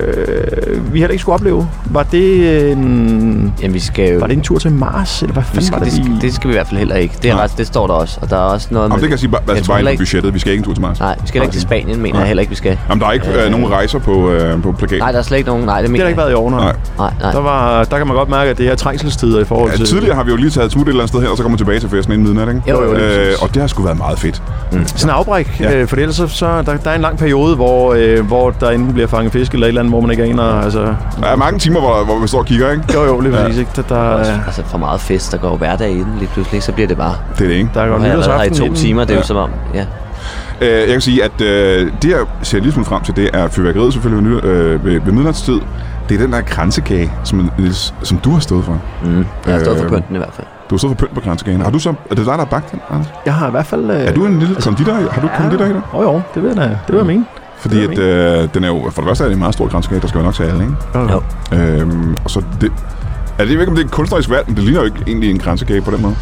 Speaker 3: Øh, vi heller ikke skulle opleve. Var det en,
Speaker 2: Jamen, vi skal jo...
Speaker 3: var det en tur til Mars, eller hvad
Speaker 2: Vi
Speaker 3: fanden
Speaker 2: skal,
Speaker 3: var
Speaker 2: det,
Speaker 3: det?
Speaker 2: skal, det skal vi i hvert fald heller ikke. Det, er
Speaker 1: Nej.
Speaker 2: ret, det står der også. Og der er også noget
Speaker 1: Jamen, det kan jeg sige bare, altså,
Speaker 2: tror
Speaker 1: bare
Speaker 2: heller
Speaker 1: ind på
Speaker 2: ikke-
Speaker 1: budgettet. Vi skal ikke en tur til Mars.
Speaker 2: Nej, vi skal heller ikke til Spanien, mener jeg heller ikke, vi skal.
Speaker 1: Jamen, der er ikke øh, nogen rejser på, øh, på plakaten.
Speaker 2: Nej, der er slet ikke nogen. Nej, det
Speaker 3: det
Speaker 2: mener
Speaker 3: har der ikke været i år, nej.
Speaker 1: Nej.
Speaker 2: Nej, nej.
Speaker 3: Der, var, der kan man godt mærke, at det er trængselstider i forhold
Speaker 1: Ja,
Speaker 3: til...
Speaker 1: Altså, tidligere har vi jo lige taget et smut et eller andet sted hen, og så kommer tilbage til festen inden midnat, ikke?
Speaker 2: Jo, jo, lige
Speaker 1: øh,
Speaker 3: præcis.
Speaker 1: og det har sgu været meget fedt.
Speaker 3: Sådan en afbræk,
Speaker 1: Ja.
Speaker 3: ja. øh, for ellers så, så der, der er en lang periode, hvor, øh, hvor der enten bliver fanget fisk eller et eller andet, hvor man ikke aner. Altså,
Speaker 1: Der er mange timer, hvor, hvor vi står og kigger, ikke?
Speaker 3: jo jo, lige præcis. Ikke? Der, der,
Speaker 2: også,
Speaker 3: øh,
Speaker 2: altså for meget fest, der går hverdag i den lige pludselig, så bliver det bare...
Speaker 1: Det er det, ikke?
Speaker 3: der er
Speaker 2: Nu
Speaker 3: godt
Speaker 2: har jeg været her i
Speaker 3: nytårsaften.
Speaker 2: to
Speaker 3: den.
Speaker 2: timer, det er
Speaker 1: Ja.
Speaker 2: jo som om... Ja.
Speaker 1: Øh, jeg kan sige, at øh, det, jeg ser lige smule frem til, det er fyrværkeriet selvfølgelig ved, ny- øh, ved, ved midnatstid. Det er den der kransekage, som, Niels, som du har stået for.
Speaker 2: Mm. Jeg har stået for
Speaker 1: Øh,
Speaker 2: pynten i hvert fald.
Speaker 1: Du har stået for pynt på kransekagen. Har du så, er det dig, der har bagt den, Anders?
Speaker 3: Jeg har i hvert fald... Øh,
Speaker 1: Er du en lille
Speaker 2: altså-
Speaker 1: konditor? i- Har du konditor i dig?
Speaker 3: Jo jo, det ved jeg da. Det vil jeg mene.
Speaker 1: Fordi at, øh, den er jo, for det første er det en meget stor kransekage, der skal jo nok til alle, ikke?
Speaker 2: Jo.
Speaker 1: Øhm, og så det, er det jeg ved ikke, om det er et kunstnerisk valg, men det ligner jo ikke egentlig en kransekage på den måde.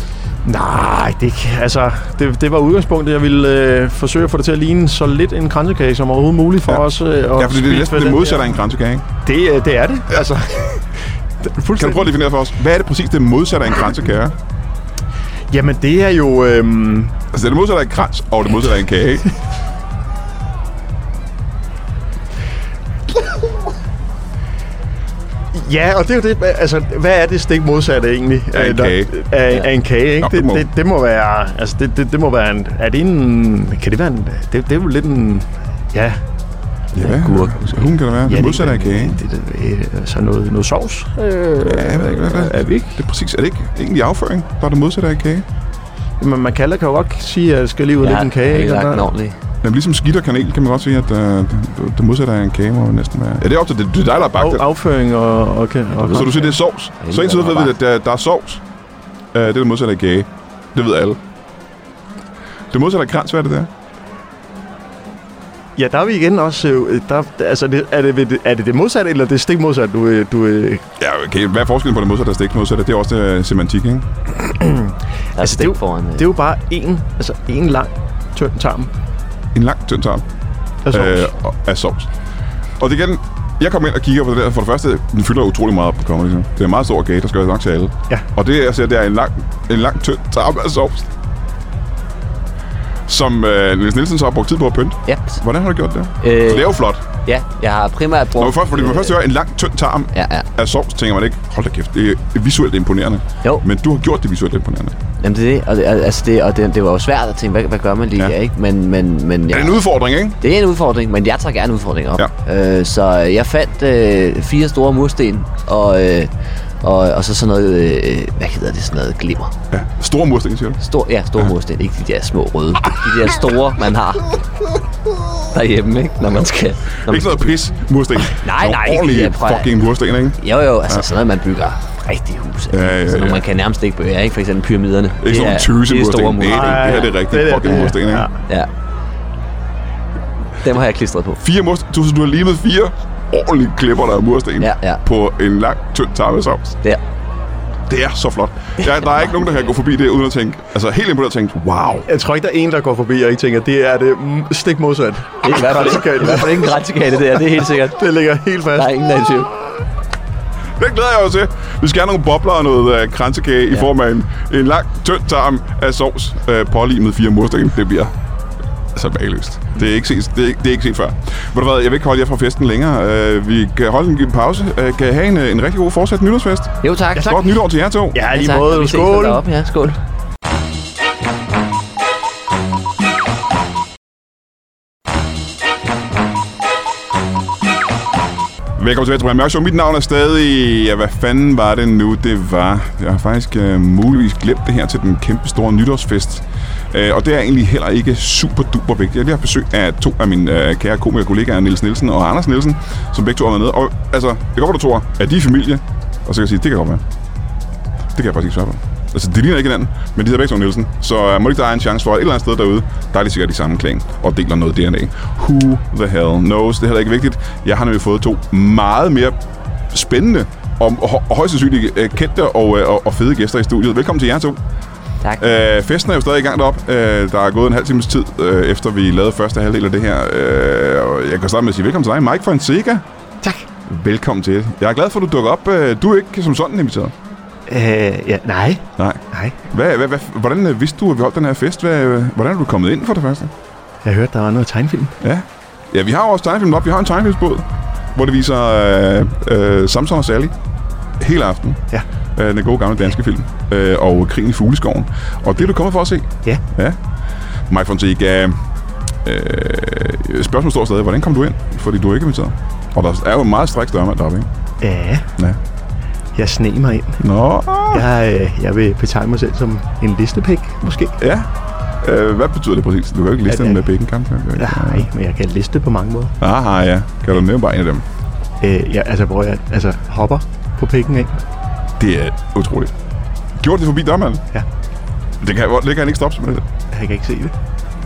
Speaker 3: Nej, det, kan- altså, det, det var udgangspunktet. Jeg ville øh, forsøge at få det til at ligne så lidt en kransekage som overhovedet muligt for
Speaker 1: Ja.
Speaker 3: os. Øh,
Speaker 1: Ja, fordi det er næsten det modsatte af en kransekage, ikke?
Speaker 3: Det, øh, det er det.
Speaker 1: Altså, kan du prøve at definere for os, hvad er det præcis det modsatte af en kransekage?
Speaker 3: Jamen, det er jo... Øh,
Speaker 1: Altså, det er det modsatte af en krans, og det modsatte af en kage, ikke?
Speaker 3: ja, og det er jo det... Altså, hvad er det stik modsatte egentlig?
Speaker 1: Af en
Speaker 3: Øh, der-
Speaker 1: kage.
Speaker 3: Af, af en kage, ikke?
Speaker 1: Nå,
Speaker 3: det,
Speaker 1: det må-
Speaker 3: det, det, må være... Altså, det, det, det må være en... Er det en... Kan det være en... Det, det er jo lidt en... Ja,
Speaker 1: Ja,
Speaker 2: Gurk.
Speaker 1: Hun kan det være. Det modsatte af en kage, ikke?
Speaker 3: Det, det, det, altså noget, noget sovs. Øh,
Speaker 1: Ja, jeg ved ikke, hvad, hvad?
Speaker 3: Er vi ikke?
Speaker 1: Det er præcis. Er det ikke egentlig afføring, der er det modsatte af en kage?
Speaker 3: Men man kalder, kan jo godt sige, at jeg skal lige ud og
Speaker 2: Jeg
Speaker 3: lægge en kage.
Speaker 2: har
Speaker 3: ikke?
Speaker 2: lagt
Speaker 3: Og
Speaker 2: en
Speaker 3: der-
Speaker 2: ordentlig
Speaker 1: Jamen, ligesom skidt og kanel, kan man godt sige, at øh, det, det modsatte af en kage må næsten være... Ja, det er op til det, det er dig, der har bagt
Speaker 3: Af,
Speaker 1: det.
Speaker 3: afføring og... Okay, og
Speaker 1: Så du siger, det er sovs. Så indtil videre ved vi, at der, der er sovs. Øh, det er det modsatte af kage. Det ved alle. Det modsatte af krans, hvad er det der?
Speaker 3: Ja, der er vi igen også... øh, Der, altså, det, er, det, ved det- er det det modsatte, eller det stik modsatte, du, øh, du, øh,
Speaker 1: Ja, okay. Hvad er forskellen på det modsatte og stik modsatte? Det er også øh, semantik, ikke?
Speaker 2: Der er
Speaker 3: Altså, det er
Speaker 2: stik
Speaker 3: jo-
Speaker 2: foran. øh,
Speaker 3: Det er jo bare en, altså en lang, tynd tarm.
Speaker 1: En lang tynd tarm
Speaker 3: Altså, øh,
Speaker 1: øh, og- af sovs. Og det er igen, jeg kommer ind og kigger på det der. For det første, den fylder utrolig meget op på comedy. så. Det er en meget stor gage, der skal være nok til alle.
Speaker 3: Ja.
Speaker 1: Og det, jeg ser, det er en lang, en lang tynd tarm af sovs. Som øh, Niels Nielsen så har brugt tid på at pynte.
Speaker 2: Ja.
Speaker 1: Hvordan har du gjort det?
Speaker 2: Øh,
Speaker 1: Så det er jo flot.
Speaker 2: Ja, jeg har primært brugt...
Speaker 1: Når man først, fordi man først hører en lang, tynd tarm
Speaker 2: Ja, ja.
Speaker 1: af sovs, tænker man ikke, hold da kæft, det er visuelt imponerende.
Speaker 2: Jo.
Speaker 1: Men du har gjort det visuelt imponerende.
Speaker 2: Jamen, det er det. Og, det, al- altså, det, og det, det var jo svært at tænke, hvad, hvad gør man lige
Speaker 1: Ja.
Speaker 2: ja. her, ikke? Men, men, men
Speaker 1: Ja.
Speaker 2: jeg,
Speaker 1: Er det en udfordring, ikke?
Speaker 2: det er en udfordring, men jeg tager gerne udfordringer op. Ja. Øh, så jeg fandt øh, fire store mursten, og, øh, og, og så sådan noget, øh, hvad hedder det, sådan noget glimmer.
Speaker 1: Ja. Store mursten, siger du?
Speaker 2: Stor, ja, store ja. mursten, ikke de der små røde. De der store, man har derhjemme, ikke? Når man skal... Når man
Speaker 1: Ikke sådan noget pis mursten. Nogle
Speaker 2: nej,
Speaker 1: Ordentlige
Speaker 2: ja, prøv at-
Speaker 1: fucking mursten, ikke?
Speaker 2: Jo, jo, altså ja. sådan noget, man bygger rigtige huse.
Speaker 1: Ja, ja,
Speaker 2: Sådan,
Speaker 1: ja.
Speaker 2: noget, man kan nærmest ikke bygge, ikke? For eksempel pyramiderne. Det
Speaker 1: Ikke sådan
Speaker 2: er-
Speaker 1: nogle tøse
Speaker 2: det er store
Speaker 1: mursten. Nej, det
Speaker 2: mursten.
Speaker 1: her det er
Speaker 3: Ja,
Speaker 1: rigtige
Speaker 3: det er
Speaker 1: fucking
Speaker 3: det.
Speaker 1: mursten, ikke?
Speaker 3: Ja.
Speaker 2: Ja. Dem har jeg klistret på.
Speaker 1: Fire mursten. Du, du har limet fire ordentlige klipper, der er mursten
Speaker 2: Ja, ja.
Speaker 1: på en lang, tynd tarm af sovs.
Speaker 2: Der.
Speaker 1: Det er så flot. Der, der er ikke nogen, der kan gå forbi det, uden at tænke... Altså, helt imponeret at tænke, wow.
Speaker 3: jeg tror ikke, der er en, der går forbi og ikke tænker, det er det mm, stik modsat.
Speaker 2: Det er i hvert fald ikke, det er i hvert fald ikke en grænsekage, det der. Det er helt sikkert.
Speaker 3: Det ligger helt fast.
Speaker 2: Der er ingen, der er i tvivl.
Speaker 1: Det glæder jeg jo til. Vi skal have nogle bobler og noget øh, kransekage ja. i form af en, en lang, tynd tarm af sovs øh, pålimet fire mursten. Det bliver så bagløst. Det er ikke set, det er, ikke- det er ikke set før. Ved du hvad, jeg vil ikke holde jer fra festen længere. Øh, vi kan holde en lille pause. Øh, kan I have en, øh, en rigtig god fortsat nytårsfest?
Speaker 2: Jo, tak.
Speaker 1: Godt nytår til jer to.
Speaker 3: Ja,
Speaker 2: Ja,
Speaker 3: lige
Speaker 2: tak.
Speaker 3: måde.
Speaker 2: Vi ses
Speaker 3: Skål.
Speaker 2: deroppe. Ja, skål.
Speaker 1: Velkommen tilbage til Brian Mørk Show. Mit navn er stadig... Ja, hvad fanden var det nu, det var? Jeg har faktisk øh, muligvis glemt det her til den kæmpe store nytårsfest. Øh, og det er egentlig heller ikke super duper vigtigt. Jeg har lige haft besøg af to af mine øh, kære komikere kollegaer, Niels Nielsen og Anders Nielsen, som begge to har været med. Og altså, jeg går godt, du tror, at de er i familie. Og så kan jeg sige, det kan godt være. Det kan jeg faktisk ikke svare på. Altså, de ligner ikke hinanden, men de hedder begge to Nielsen. Så øh, må det ikke der er en chance for, at et eller andet sted derude, der er de sikkert i samme klan og deler noget DNA. Who the hell knows? Det er heller ikke vigtigt. Jeg har nemlig fået to meget mere spændende og, og, og højst sandsynligt øh, kendte og, øh, og, og fede gæster i studiet. Velkommen til jer to.
Speaker 2: Tak.
Speaker 1: Øh, festen er jo stadig i gang deroppe. Øh, der er gået en halv times tid, øh, efter vi lavede første halvdel af det her. Øh, og jeg kan starte med at sige velkommen til dig, Mike fra Sega.
Speaker 4: Tak.
Speaker 1: Velkommen til. Jeg er glad for, at du dukker op. Øh, du er ikke som sådan inviteret.
Speaker 4: Øh, ja, nej.
Speaker 1: Nej.
Speaker 4: Nej.
Speaker 1: Hvad, hvad, hvad, hvordan øh, vidste du, at vi holdt den her fest? Hvad, øh, hvordan er du kommet ind for det første?
Speaker 3: Jeg hørte, der var noget tegnfilm.
Speaker 1: Ja. Ja, vi har jo også tegnefilmen op. Vi har en tegnefilmsbåd, hvor det viser øh, øh, Samson og Sally hele aften.
Speaker 3: Ja.
Speaker 1: Øh, den gode gamle danske film. Øh, og krigen i fugleskoven. Og det er du kommet for at se.
Speaker 3: Ja.
Speaker 1: Ja. Mike Fonseca, øh, spørgsmålet står stadig, hvordan kom du ind? Fordi du er ikke inviteret. Og der er jo en meget stræk dørmand deroppe, ikke?
Speaker 3: Ja,
Speaker 1: Ja.
Speaker 3: jeg sneg mig ind.
Speaker 1: Nå.
Speaker 3: Jeg, øh, jeg vil betegne mig selv som en listepik, måske.
Speaker 1: Ja. Øh, hvad betyder det præcis? Du kan jo ikke liste
Speaker 3: At,
Speaker 1: den med
Speaker 3: øh,
Speaker 1: begge kampe.
Speaker 3: Nej, men jeg kan liste på mange måder.
Speaker 1: Aha, ja. Ah, Kan du nævne bare en af dem?
Speaker 3: Øh, ja, altså, hvor jeg altså, hopper på pikken, ikke?
Speaker 1: Det er utroligt. Gjorde det forbi dørmanden?
Speaker 3: Ja.
Speaker 1: Det kan, det kan han ikke stoppe med det.
Speaker 3: Jeg kan ikke se det.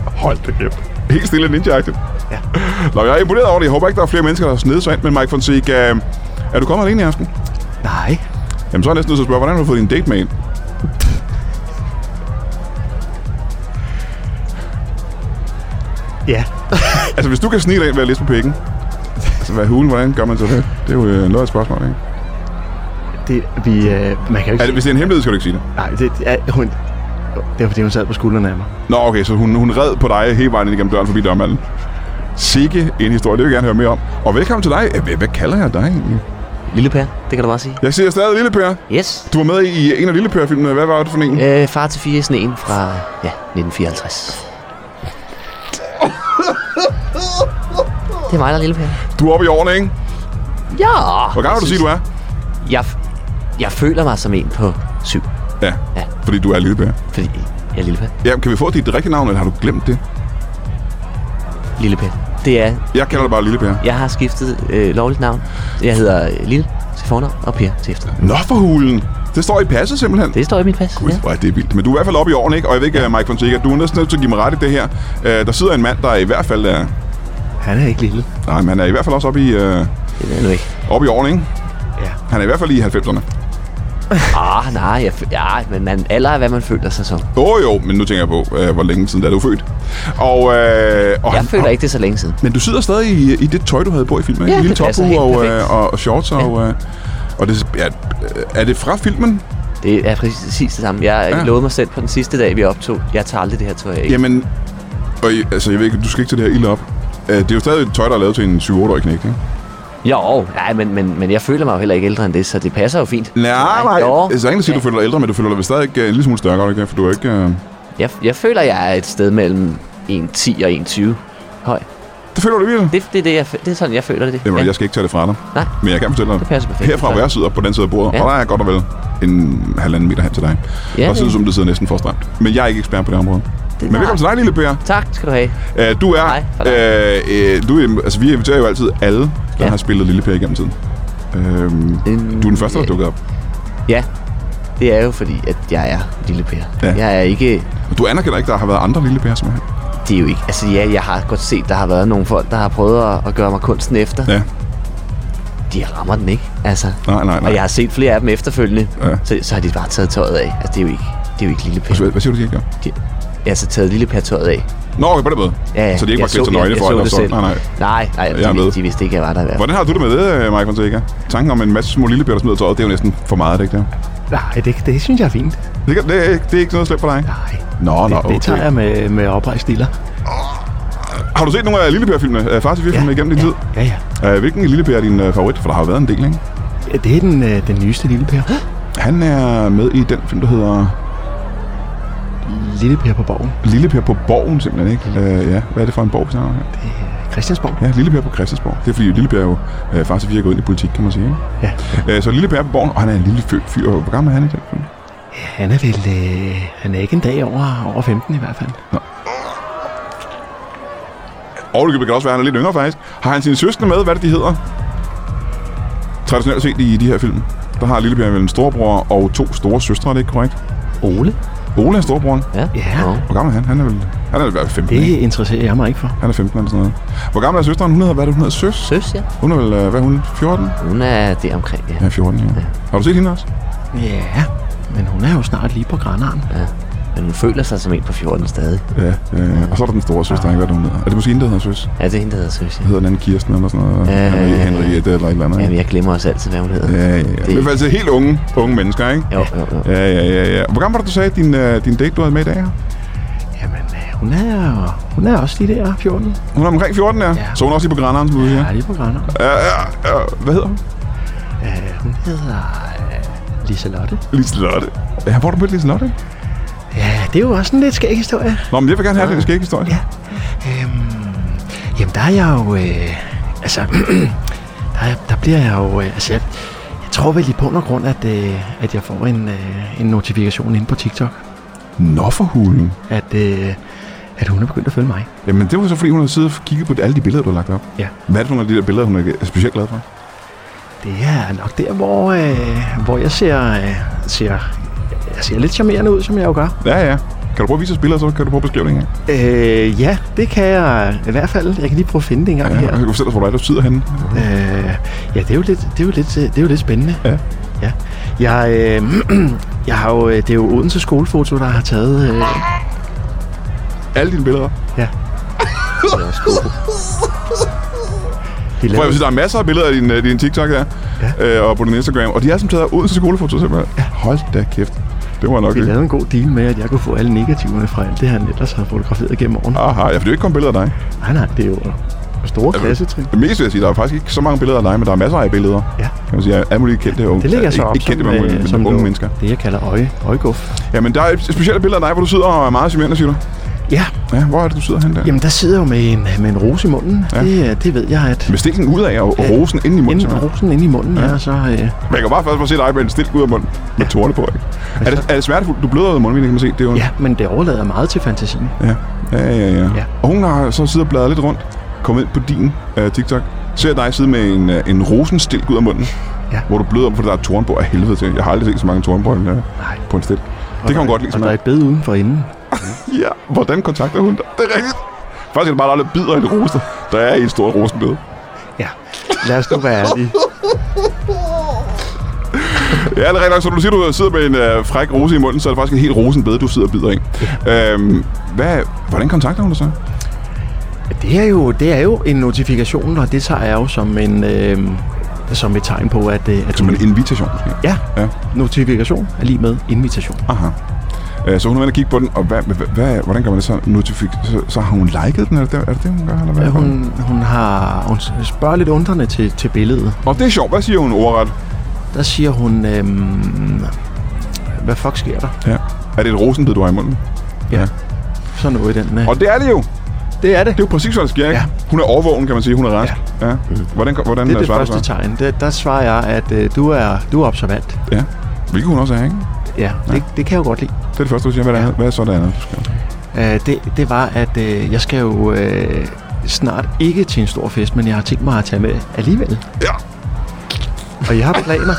Speaker 1: Hold da kæft. Helt stille ninja -agtigt.
Speaker 3: Ja.
Speaker 1: Nå, jeg er imponeret over det. Jeg håber ikke, der er flere mennesker, der har snedet sig ind. Men Mike Fonseca, øh, er du kommet alene i aften?
Speaker 3: Nej.
Speaker 1: Jamen, så er jeg næsten nødt til at spørge, hvordan har du fået din date med ind?
Speaker 3: Ja,
Speaker 1: Altså, hvis du kan snige dig ind ved at læse på pikken, altså, hvad hulen, hvordan gør man så det? Det er jo øh, noget af et spørgsmål, ikke?
Speaker 3: det, vi, øh, man kan jo ikke
Speaker 1: Er det, hvis det er en hemmelighed, skal du ikke sige det.
Speaker 3: Nej, det, det er, hun, det er fordi, hun sad på skuldrene af mig.
Speaker 1: Nå, okay, så hun, hun red på dig hele vejen ind igennem døren forbi dørmanden. Sikke en historie, det vil jeg gerne høre mere om. Og velkommen til dig. Øh, Hvad, hvad kalder jeg dig egentlig?
Speaker 2: Lille Per, det kan du bare sige.
Speaker 1: Jeg siger stadig Lille Per.
Speaker 2: Yes.
Speaker 1: Du var med i en af Lille Per-filmene. Hvad var det for en?
Speaker 2: Øh, far til fire i sneen fra ja, 1954. Det er mig, der er lille Per.
Speaker 1: Du er oppe i årene, ikke?
Speaker 2: Ja.
Speaker 1: Hvor gammel vil du sige, du er?
Speaker 2: Jeg, jeg føler mig som en på syv,
Speaker 1: Ja,
Speaker 2: Ja.
Speaker 1: fordi du er Lille Per.
Speaker 2: fordi jeg er lille Per.
Speaker 1: Ja, kan vi få dit rigtige navn, eller har du glemt det?
Speaker 2: Lille Per. Det er,
Speaker 1: Jeg kalder det bare Lille Per.
Speaker 2: jeg har skiftet øh, lovligt navn. Jeg hedder øh, Lille til fornavn og Per til efternavn.
Speaker 1: Nå for hulen. Det står i passet simpelthen.
Speaker 2: Det står i mit pas.
Speaker 1: Gud, hvor er det vildt. Men du er i hvert fald oppe i årene, ikke? Og jeg ved ikke, øh, Mike Fonseca, du er næsten nødt til at give mig ret i det her. Øh, der sidder en mand, der i hvert fald er...
Speaker 3: Han er ikke lille.
Speaker 1: Nej, men han er i hvert fald også oppe i, øh,
Speaker 2: Det ved jeg nu ikke.
Speaker 1: oppe i årene, ikke?
Speaker 3: Ja.
Speaker 1: Han er i hvert fald i 90'erne.
Speaker 2: Ah, nej, jeg, fø- ja, men man, alder er, hvad man føler sig som.
Speaker 1: Åh oh, jo, men nu tænker jeg på, øh, hvor længe siden er du født. Og, øh, og
Speaker 2: Jeg føler ikke, det er så længe siden.
Speaker 1: Men du sidder stadig i, i det tøj, du havde på i filmen, ikke?
Speaker 2: Ja,
Speaker 1: En lille
Speaker 2: det passer
Speaker 1: tophue
Speaker 2: helt
Speaker 1: og,
Speaker 2: perfekt.
Speaker 1: øh, og, og shorts og... Øh, og det, ja, er det fra filmen?
Speaker 2: Det er præcis det samme. Jeg
Speaker 1: Ja.
Speaker 2: ja. lovede mig selv på den sidste dag, vi optog. Jeg tager aldrig det her tøj af.
Speaker 1: Jamen, og, I- altså, jeg ved ikke, du skal ikke til det her ild op. Øh, Det er jo stadig et tøj, der er lavet til en 7-8-årig knægt, ikke?
Speaker 2: Jo, nej, men, men, men jeg føler mig jo heller ikke ældre end det, så det passer jo fint.
Speaker 1: Nej, nej.
Speaker 2: Jo,
Speaker 1: Altså, der er ingen, der siger, du føler dig ældre, men du føler dig vel stadig ikke øh, en lille smule stærkere, ikke? For du er ikke... Øh,
Speaker 2: jeg, jeg føler, jeg er et sted mellem 1,10 og 1,20 høj.
Speaker 1: det føler du virkelig.
Speaker 2: Det, det, er det, jeg, fø- det er sådan, jeg føler det.
Speaker 1: Jamen, ja. jeg skal ikke tage det fra dig.
Speaker 2: Nej.
Speaker 1: Men jeg kan fortælle dig,
Speaker 2: Det passer perfekt.
Speaker 1: herfra hvor jeg sidder på den side af bordet, ja.
Speaker 2: Ja.
Speaker 1: og der er godt og vel en halvanden meter hen til dig.
Speaker 2: Ja,
Speaker 1: og så
Speaker 2: det-
Speaker 1: som det sidder næsten for stramt. Men jeg er ikke ekspert på det område. Det Men velkommen til dig, lille Per.
Speaker 2: Tak skal du have.
Speaker 1: Øh, du er...
Speaker 2: Hej, for
Speaker 1: øh, øh, du, er- altså, vi inviterer jo altid alle, der ja.
Speaker 2: Ja.
Speaker 1: har spillet Lille Per igennem tiden. Øhm,
Speaker 2: En-
Speaker 1: du er den første, der dukker op.
Speaker 2: Ja, det er jo fordi, at jeg er lille Per.
Speaker 1: Ja.
Speaker 2: Ja. Jeg er ikke...
Speaker 1: Og du anerkender ikke, der har været andre Lille Per, simpelthen.
Speaker 2: Det er jo ikke... Altså ja, jeg har godt set, der har været nogle folk, der har prøvet at, at gøre mig kunsten efter.
Speaker 1: Ja.
Speaker 2: De rammer den ikke, altså.
Speaker 1: Nej, nej, nej.
Speaker 2: Og jeg har set flere af dem efterfølgende,
Speaker 1: Ja.
Speaker 2: ja. så, så har de bare taget tøjet af. Altså, det er jo ikke, det er jo ikke lille Per.
Speaker 1: Hvad, hvad siger du, de ikke gør?
Speaker 2: De, altså, taget lille Per tøjet af.
Speaker 1: Nå, okay, på den måde. Så de ikke
Speaker 2: jeg
Speaker 1: bare klædt
Speaker 2: så-
Speaker 1: til nøgle
Speaker 2: jeg-
Speaker 1: for,
Speaker 2: jeg
Speaker 1: eller
Speaker 2: så
Speaker 1: så.
Speaker 2: det
Speaker 1: Nej, nej.
Speaker 2: selv. Nej, nej,
Speaker 1: Jeg er
Speaker 2: de,
Speaker 1: med.
Speaker 2: de, vidste ikke, jeg var der i hvert fald.
Speaker 1: Hvordan har du det med det, øh, Mike Fonseca? Tanken om en masse små lille Per, der smider tøjet, det er jo næsten for meget, er det ikke det?
Speaker 3: Nej, det, det synes jeg er fint.
Speaker 1: Det, kan- det, er ikke- det er ikke noget slemt for dig?
Speaker 3: Nej.
Speaker 1: Nå, nå,
Speaker 3: Det,
Speaker 1: okay.
Speaker 3: det tager jeg med, med oprejst stiller.
Speaker 1: Har du set nogle af Lille Per-filmene, øh, far til fire filmene igennem din
Speaker 3: ja,
Speaker 1: tid?
Speaker 3: Ja, ja.
Speaker 1: Øh, Hvilken Lille Per er din øh, favorit? For der har jo været en del, ikke?
Speaker 3: Ja, Det er den, øh, den nyeste lille Per.
Speaker 1: Han er med i den film, der hedder
Speaker 3: Lille Per på borgen.
Speaker 1: Lille Per på Borgen, simpelthen, ikke? Øh, ja, hvad er det for en borg, vi snakker om her?
Speaker 3: Christiansborg.
Speaker 1: Ja, Lille Per på Christiansborg. Det er fordi Lille Per jo øh, faktisk er virkelig gået ind i politik, kan man sige, ikke?
Speaker 3: Ja.
Speaker 1: Øh, så Lille Per på Borgen, og han er en lille fyr. fyr. Hvor gammel er han i den film?
Speaker 3: Han er vel... Øh, han er ikke en dag over, over 15 i hvert fald.
Speaker 1: Og det kan også være, han er lidt yngre, faktisk. Har han sine søskende med? Hvad er det, de hedder? Traditionelt set i de her film, der har Lille Per vel en storebror og to store søstre, er det ikke korrekt?
Speaker 2: Ole?
Speaker 1: Ole er storebroren.
Speaker 2: Ja.
Speaker 3: Ja.
Speaker 2: Nå.
Speaker 1: Hvor gammel er han? Han er vel, han er vel i hvert fald 15,
Speaker 3: Det
Speaker 1: ikke?
Speaker 3: interesserer jeg mig ikke for.
Speaker 1: Han er 15 eller sådan noget. Hvor gammel er søsteren? Hun hedder, hvad er det, hun hedder? Søs?
Speaker 2: Søs, ja.
Speaker 1: Hun er vel, øh, hvad er hun? 14?
Speaker 2: Hun er der omkring, ja.
Speaker 1: Ja, 14, ja. Har du set hende også?
Speaker 3: Ja, men hun er jo snart lige på grænarm.
Speaker 2: ja. Men hun føler sig som en på 14 stadig.
Speaker 1: Ja, ja, Og så er der den store søster, ikke? Hvad er det, hun hedder? Er det måske hende, der hedder Søs?
Speaker 2: Ja, det er hende, der hedder Søs, ja.
Speaker 1: hedder den anden Kirsten eller sådan noget.
Speaker 2: Ja,
Speaker 1: Henri-
Speaker 2: ja, ja.
Speaker 1: Henriette eller et eller andet.
Speaker 2: Jamen,
Speaker 1: ikke?
Speaker 2: jeg glemmer også altid, hvad hun hedder.
Speaker 1: Ja, ja, ja. Det er altså helt unge, unge mennesker, ikke?
Speaker 2: Jo, jo, jo.
Speaker 1: Ja, ja, ja, ja. Hvor gammel var det, du sagde, at din, øh, din date, du havde med i dag? her?
Speaker 3: Jamen, øh, hun er, hun er også lige der, 14.
Speaker 1: Hun er omkring 14, ja.
Speaker 3: Ja.
Speaker 1: Så hun er også lige på Granaren, som du siger.
Speaker 3: Ja, lige på grænarm.
Speaker 1: Ja, ja, ja. Hvad hedder hun?
Speaker 3: Øh, hun hedder... Øh, Liselotte.
Speaker 1: Liselotte. Ja, hvor har du mødt Liselotte?
Speaker 3: Ja, det er jo også en lidt skæg historie.
Speaker 1: Nå, men jeg vil gerne have den skægge historie. Ja.
Speaker 3: Øhm, Jamen, der er jeg jo... Øh, altså, der, er- der bliver jeg jo... Øh, altså, jeg, jeg tror vel i bund og grund, at, øh, at jeg får en, øh, en notifikation inde på TikTok,
Speaker 1: Nå for hulen.
Speaker 3: at, øh, at hun er begyndt at følge mig.
Speaker 1: Jamen, det var så, fordi hun havde siddet og kigget på alle de billeder, du har lagt op.
Speaker 3: Ja.
Speaker 1: Hvad er det for nogle af de der billeder, hun er specielt glad for?
Speaker 3: Det er nok der, hvor, øh, hvor jeg ser, øh, ser, jeg ser lidt charmerende ud, som jeg jo gør.
Speaker 1: Ja, ja. Kan du prøve at vise os billeder, så kan du prøve beskrivningen af?
Speaker 3: Øh, ja, det kan jeg i hvert fald. Jeg kan lige prøve at finde det en gang
Speaker 1: Ja,
Speaker 3: her.
Speaker 1: og så kan du fortælle os, hvor du er, du sidder henne.
Speaker 3: Øh, ja, det er jo lidt, det er jo lidt, øh, det er jo lidt spændende.
Speaker 1: Ja.
Speaker 3: ja. Jeg, øh, jeg har jo, øh, det er jo Odense skolefoto, der har taget... Øh,
Speaker 1: Alle dine billeder.
Speaker 3: ja.
Speaker 2: Det er også god.
Speaker 3: De
Speaker 1: For jeg vil
Speaker 3: lavede,
Speaker 1: sige, der er masser af billeder af din, øh, din TikTok der, ja. øh, og på din Instagram, og de er som taget af Odense skolefoto simpelthen. Ja. Hold da kæft. Det var nok
Speaker 3: de
Speaker 1: ikke.
Speaker 3: lavede en god deal med, at jeg kunne få alle negativerne fra alt det, han ellers har fotograferet gennem årene.
Speaker 1: Aha, ja, for det er jo ikke kun billeder af dig.
Speaker 3: Nej, nej, det er jo store klassetrin.
Speaker 1: Det meste vil jeg sige, der er faktisk ikke så mange billeder af dig, men der er masser af billeder.
Speaker 3: Ja.
Speaker 1: Kan man sige, af alle mulige kendte unge.
Speaker 3: Det ligger
Speaker 1: ja,
Speaker 3: så op
Speaker 1: Ikke kendte, men,
Speaker 3: øh,
Speaker 1: men, men unge
Speaker 3: noget-
Speaker 1: mennesker.
Speaker 3: Det, jeg kalder øje, øjeguff.
Speaker 1: Ja, men der er et specielt billede af dig, hvor du sidder og er meget charmerende, siger du.
Speaker 3: Ja,
Speaker 1: Ja, hvor er det, du sidder henne der?
Speaker 3: jamen der sidder jeg jo med en, med en rose i munden.
Speaker 1: Ja.
Speaker 3: Ja. Det, øh, det ved jeg, at
Speaker 1: Med stikken ud af og og
Speaker 3: Ja.
Speaker 1: rosen ind i munden.
Speaker 3: inden
Speaker 1: simpelthen.
Speaker 3: rosen inde i munden, ja. er så... Øh,
Speaker 1: Men jeg kan bare først bare se dig med en stik ud af munden med
Speaker 3: Altså-
Speaker 1: Mm. tårne på, ikke? Er det, er det smertefuldt? Du bløder ud af munden, kan man se. Det er jo en-
Speaker 3: ja, men det overlader meget til fantasien.
Speaker 1: Ja. Ja, ja, ja.
Speaker 4: Ja.
Speaker 1: ja. Og hun har så siddet og bladret lidt rundt, kommet ind på din øh, TikTok, ser dig sidde med en, øh, en rosenstilk ud af munden,
Speaker 4: Ja.
Speaker 1: hvor du bløder om, for der er tornbog af helvede til. Jeg har aldrig set så mange tornbog øh, på en stilk. Det kan hun godt lide så
Speaker 4: Og der er
Speaker 1: meget.
Speaker 4: et bed uden for inden.
Speaker 1: Ja, hvordan kontakter hun dig? Det er rigtigt. Faktisk er det bare, der aldrig bider i en rose. Der er en stor rosenbed.
Speaker 4: Ja. Lad os nu være ærlige.
Speaker 1: Ja, det er rigtig nok. Så når du siger, du sidder med en øh, fræk rose i munden, så er det faktisk en helt rosenbed, du sidder og bider i. Øhm, hvad, hvordan kontakter hun dig så?
Speaker 4: Det er jo, det er jo en notifikation, og det tager jeg jo som en... Øh, som et tegn på, at... Øh, at
Speaker 1: Som en invitation, måske?
Speaker 4: Ja,
Speaker 1: Ja.
Speaker 4: notifikation er lige med invitation.
Speaker 1: Aha. Øh, Så hun er inde og kigge på den, og hvad, hvad, hvad, hvordan gør man det så? Notifik- så, så har hun liket den, er det det, er det, det hun gør? Eller hvad?
Speaker 4: Ja, Hun, hun, har, hun spørger lidt undrende til, til billedet.
Speaker 1: Og det er sjovt, hvad siger hun ordret?
Speaker 4: Der siger hun, øhm, hvad fuck sker der?
Speaker 1: Ja. Er det et rosenbed, du har i munden? Ja.
Speaker 4: Sådan noget i den. Øh.
Speaker 1: Og det er det jo!
Speaker 4: det er det.
Speaker 1: Det er jo præcis, hvad der sker, ikke?
Speaker 4: Ja.
Speaker 1: Hun er overvågen, kan man sige. Hun er rask. Ja. ja. Hvordan, hvordan
Speaker 4: Det er det
Speaker 1: svarer
Speaker 4: første
Speaker 1: du så?
Speaker 4: tegn. Der, der svarer jeg, at øh, du, er, du er observant.
Speaker 1: Ja. Hvilket hun også er, ikke?
Speaker 4: Ja, det, det kan jeg jo godt lide.
Speaker 1: Det er det første, du siger. Hvad, ja.
Speaker 4: Ja.
Speaker 1: hvad er så det andet, du skal?
Speaker 4: Øh, det, det var, at øh, jeg skal jo øh, snart ikke til en stor fest, men jeg har tænkt mig at tage med alligevel.
Speaker 1: Ja.
Speaker 4: Og jeg har planer.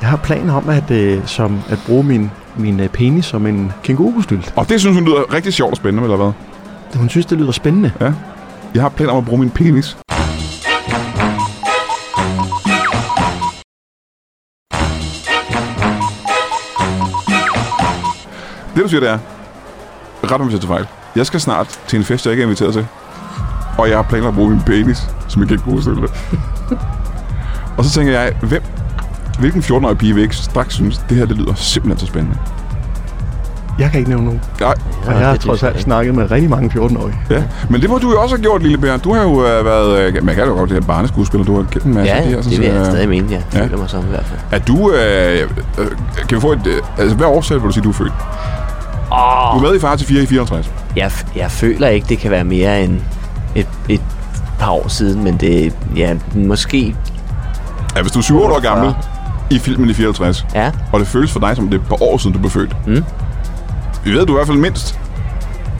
Speaker 4: Jeg har planer om at, øh, som, at bruge min, min øh, penis som en kængurustylt.
Speaker 1: Og det synes hun lyder rigtig sjovt og spændende, eller hvad?
Speaker 4: Hun synes, det lyder spændende.
Speaker 1: Jeg har planer om at bruge min penis. Det du siger, det er, ret om jeg tager fejl. Jeg skal snart til en fest, jeg ikke er inviteret til. Og jeg har planer om at bruge min penis, som jeg kan ikke bruge selv. og så tænker jeg, hvem, hvilken 14-årig pige vil ikke straks synes, det her det lyder simpelthen så spændende.
Speaker 4: Jeg kan ikke nævne nogen.
Speaker 1: Nej,
Speaker 4: Og jeg har trods alt snakket med rigtig mange 14-årige.
Speaker 1: Ja, men det må du jo også have gjort, Lille Per. Du har jo øh, været... Øh, man kan jo godt det her barneskuespiller. Du har kendt en masse
Speaker 2: Ja,
Speaker 1: af de her.
Speaker 2: det vil jeg stadig mene, jeg
Speaker 1: ja.
Speaker 2: føler mig som i hvert fald.
Speaker 1: Er du... Øh, øh, kan vi få et... Øh, altså, hvad årsag vil du sige, du er født? Oh. Du er med i Far til 4 i 54.
Speaker 2: Jeg, f- jeg føler ikke, det kan være mere end et, et par år siden, men det ja, måske...
Speaker 1: Ja, hvis du er 7 år gammel i filmen i 54,
Speaker 2: Ja,
Speaker 1: og det føles for dig, som det er et par år siden, du blev født. Mm. Vi ved, du er i hvert fald mindst